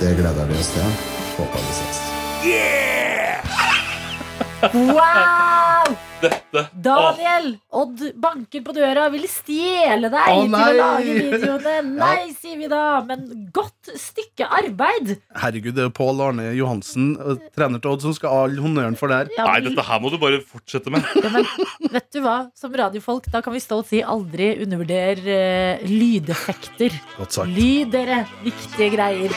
Speaker 11: Det gleder vi oss til. Håper vi ses.
Speaker 2: Wow!
Speaker 3: Dette.
Speaker 2: Daniel! Odd banker på døra og vil stjele deg
Speaker 9: Å,
Speaker 2: til å
Speaker 9: nei!
Speaker 2: lage videoene. Nei, sier vi da, men godt stykke arbeid.
Speaker 9: Herregud, det er jo Pål Arne Johansen, eh, trener til Odd, som skal ha all honnøren for det her.
Speaker 2: Ja,
Speaker 3: Nei,
Speaker 2: men-
Speaker 3: dette her må du bare fortsette med.
Speaker 2: Ja, men vet du hva, som radiofolk, da kan vi stolt si aldri undervurder eh, lydeffekter.
Speaker 9: Godt sagt.
Speaker 2: Lyd, dere. Viktige greier.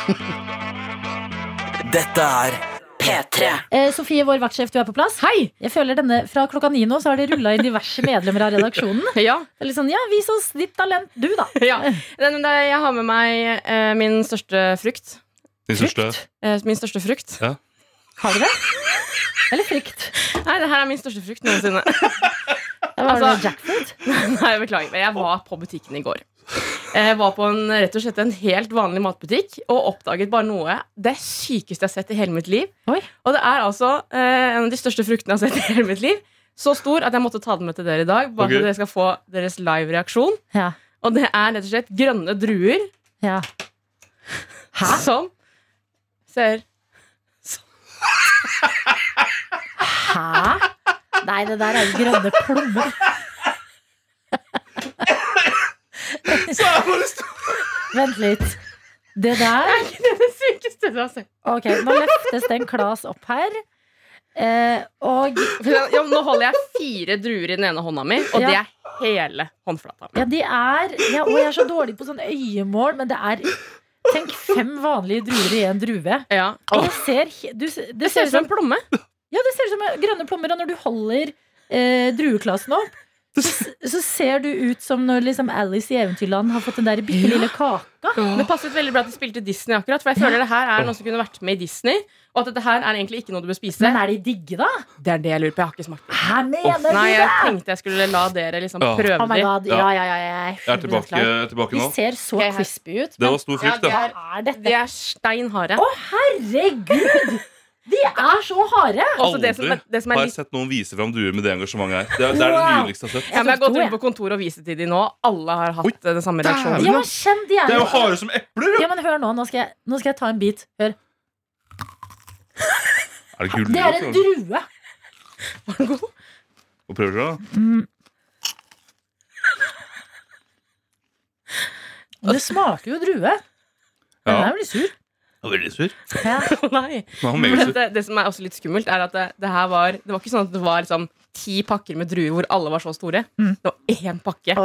Speaker 8: Dette er
Speaker 2: Eh, Sofie, vår vaktsjef, du er på plass. Hei! Jeg føler denne Fra klokka ni nå så har det rulla inn diverse medlemmer av redaksjonen.
Speaker 7: Ja.
Speaker 2: Det er litt sånn, ja, vis oss ditt talent, du, da.
Speaker 7: Ja. Nei, men det, jeg har med meg eh, min største frukt.
Speaker 3: Din største
Speaker 7: Eh, min største frukt.
Speaker 3: Ja.
Speaker 2: Har du det? Eller frykt?
Speaker 7: Nei, det her er min største frukt noensinne.
Speaker 2: Var det
Speaker 7: Altså-
Speaker 2: jackfruit?
Speaker 7: Nei, beklager. Men jeg var på butikken i går. Jeg var på en, rett og slett en helt vanlig matbutikk og oppdaget bare noe det sykeste jeg har sett i hele mitt liv. Og det er altså eh, en av de største fruktene jeg har sett i hele mitt liv. Så stor at jeg måtte ta den med til dere i dag. Bare
Speaker 2: Ok.
Speaker 7: så dere skal få deres live reaksjon.
Speaker 2: Ja.
Speaker 7: Og det er rett og slett grønne druer
Speaker 2: Ja.
Speaker 7: som ser
Speaker 2: Hæ? Nei, det der er jo grønne plommer. Vent litt. Det der
Speaker 7: Det er ikke det, det sykeste du har sett.
Speaker 2: Ok, nå løftes den Klas opp her. Eh, og
Speaker 7: ja, Nå holder jeg fire druer i den ene hånda mi, og det
Speaker 2: Ja.
Speaker 7: er hele håndflata.
Speaker 2: Ja, de er ja, Og jeg er så dårlig på sånn øyemål, men det er Tenk fem vanlige druer i en drue. Og det ser, he- du, det
Speaker 7: Det ser ut som en plomme.
Speaker 2: Ja, det ser ut som grønne plommer. Og når du holder eh, drueklasen opp, så, så ser du ut som når liksom Alice i Eventyrland har fått den der bitte lille kaka.
Speaker 7: Det passet veldig bra at de spilte Disney akkurat, for jeg føler det her er noe som kunne vært med i Disney. Og at dette her er egentlig ikke noe du bør spise.
Speaker 2: Men er de digge, da?
Speaker 7: Det er det jeg lurer på. Jeg har ikke smakt på
Speaker 2: Hæ, mener du
Speaker 7: det. Nei, jeg
Speaker 2: det?
Speaker 7: tenkte jeg skulle la dere liksom
Speaker 3: Ja.
Speaker 7: prøve
Speaker 2: Oh my god, ja, ja, ja, jeg er
Speaker 3: Jeg er
Speaker 2: 100%
Speaker 3: tilbake,
Speaker 2: klar.
Speaker 3: tilbake
Speaker 2: De
Speaker 3: nå.
Speaker 2: ser så crispy ut.
Speaker 3: Det var stor frukt, det.
Speaker 7: Ja,
Speaker 2: Hva er dette?
Speaker 7: De er stein harde.
Speaker 2: Å, herregud! De er så harde!
Speaker 3: Aldri
Speaker 7: Også altså det som er- det som er
Speaker 3: har jeg
Speaker 7: litt-
Speaker 3: sett noen vise fram duer med det engasjementet her. Det er det, er det
Speaker 2: Wow.
Speaker 3: nydeligste jeg har sett.
Speaker 7: Ja, men jeg har gått rundt på kontoret og vist det til de nå. Alle har hatt eh, den samme reaksjonen.
Speaker 2: Ja, men kjenn de er
Speaker 3: Det er jo harde som epler!
Speaker 2: Ja, men hør nå, nå skal jeg, nå skal jeg ta en bit. Hør.
Speaker 3: Er det
Speaker 2: Det er en
Speaker 3: gulrot?
Speaker 2: drue!
Speaker 3: Hva prøver dere, da?
Speaker 2: Det smaker jo drue. Den
Speaker 3: Ja.
Speaker 2: er veldig sur.
Speaker 3: Jeg er veldig sur.
Speaker 2: Ja.
Speaker 7: Nei.
Speaker 3: Nå er han
Speaker 7: Men
Speaker 3: meget sur.
Speaker 7: det, det som er også litt skummelt, er at det, det her var Det var ikke sånn at det var liksom ti pakker med druer hvor alle var så store.
Speaker 2: Mm.
Speaker 7: Det var én pakke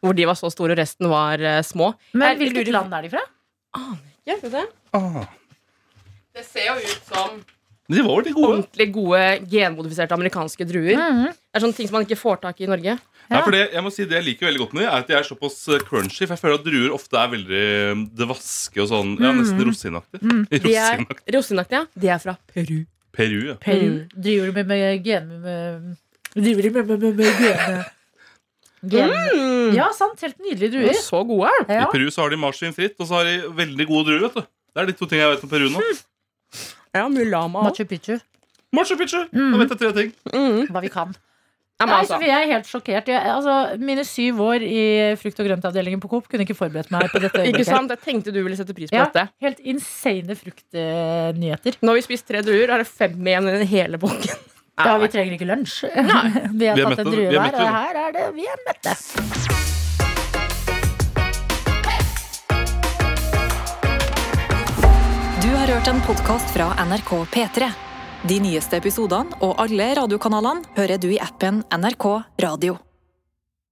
Speaker 7: hvor de var så store, og resten var eh, små.
Speaker 2: Men
Speaker 7: Jeg
Speaker 2: hvilket
Speaker 7: lurer-
Speaker 2: land er de fra?
Speaker 7: Ja, skal vi se.
Speaker 3: Ah.
Speaker 7: Det ser jo ut som
Speaker 3: Men de var veldig gode.
Speaker 7: ordentlig gode genmodifiserte amerikanske druer.
Speaker 2: Mhm.
Speaker 7: Det er sånne ting som man ikke får tak i i Norge.
Speaker 3: Ja, for det, jeg må si det jeg liker veldig godt med dem, er at de er såpass eh, crunchy. For jeg føler at druer ofte er veldig eh, det vaske og sånn. Ja, nesten
Speaker 7: Mm.
Speaker 3: rosinaktig.
Speaker 7: De er
Speaker 3: Rosinaktig.
Speaker 7: rosinaktige. ja. De er fra Peru.
Speaker 3: Peru, ja.
Speaker 2: Mm. Driver de med, med gen... Med, driver de med, med, med, med gen... gen.
Speaker 7: Mm.
Speaker 2: Ja, sant. Helt nydelige
Speaker 7: De
Speaker 2: druer.
Speaker 7: er så gode.
Speaker 2: Ja.
Speaker 3: I Peru så har de marsvinfritt, og så har de veldig gode druer, vet du. Det er de to tingene jeg vet om Peru nå.
Speaker 7: Hm. Ja, mulama.
Speaker 2: Machu Picchu.
Speaker 3: Machu Picchu!
Speaker 7: Mm.
Speaker 3: Nå vet jeg tre ting.
Speaker 2: Hva vi kan.
Speaker 7: Ja, men
Speaker 2: Nei,
Speaker 7: altså.
Speaker 2: Sofie, jeg er helt sjokkert. Jeg, altså, mine syv år i frukt- og grøntavdelingen på Coop kunne ikke forberedt meg på dette
Speaker 7: Ikke
Speaker 2: øyeblikket.
Speaker 7: sant? Jeg tenkte du ville sette pris på
Speaker 2: Ja,
Speaker 7: dette.
Speaker 2: helt insane fruktnyheter.
Speaker 7: Nå har vi spist tre druer, er det fem igjen i den hele bunken.
Speaker 2: Ja, vi trenger ikke lunsj. Vi har
Speaker 3: Vi er
Speaker 2: tatt
Speaker 3: mette,
Speaker 2: en drue
Speaker 3: vi er
Speaker 2: hver,
Speaker 3: mette,
Speaker 2: og
Speaker 3: vi.
Speaker 2: her er det vi er mette.
Speaker 1: Du har hørt en podkast fra NRK P3. De nyeste episodene og alle radiokanalene hører du i appen NRK Radio.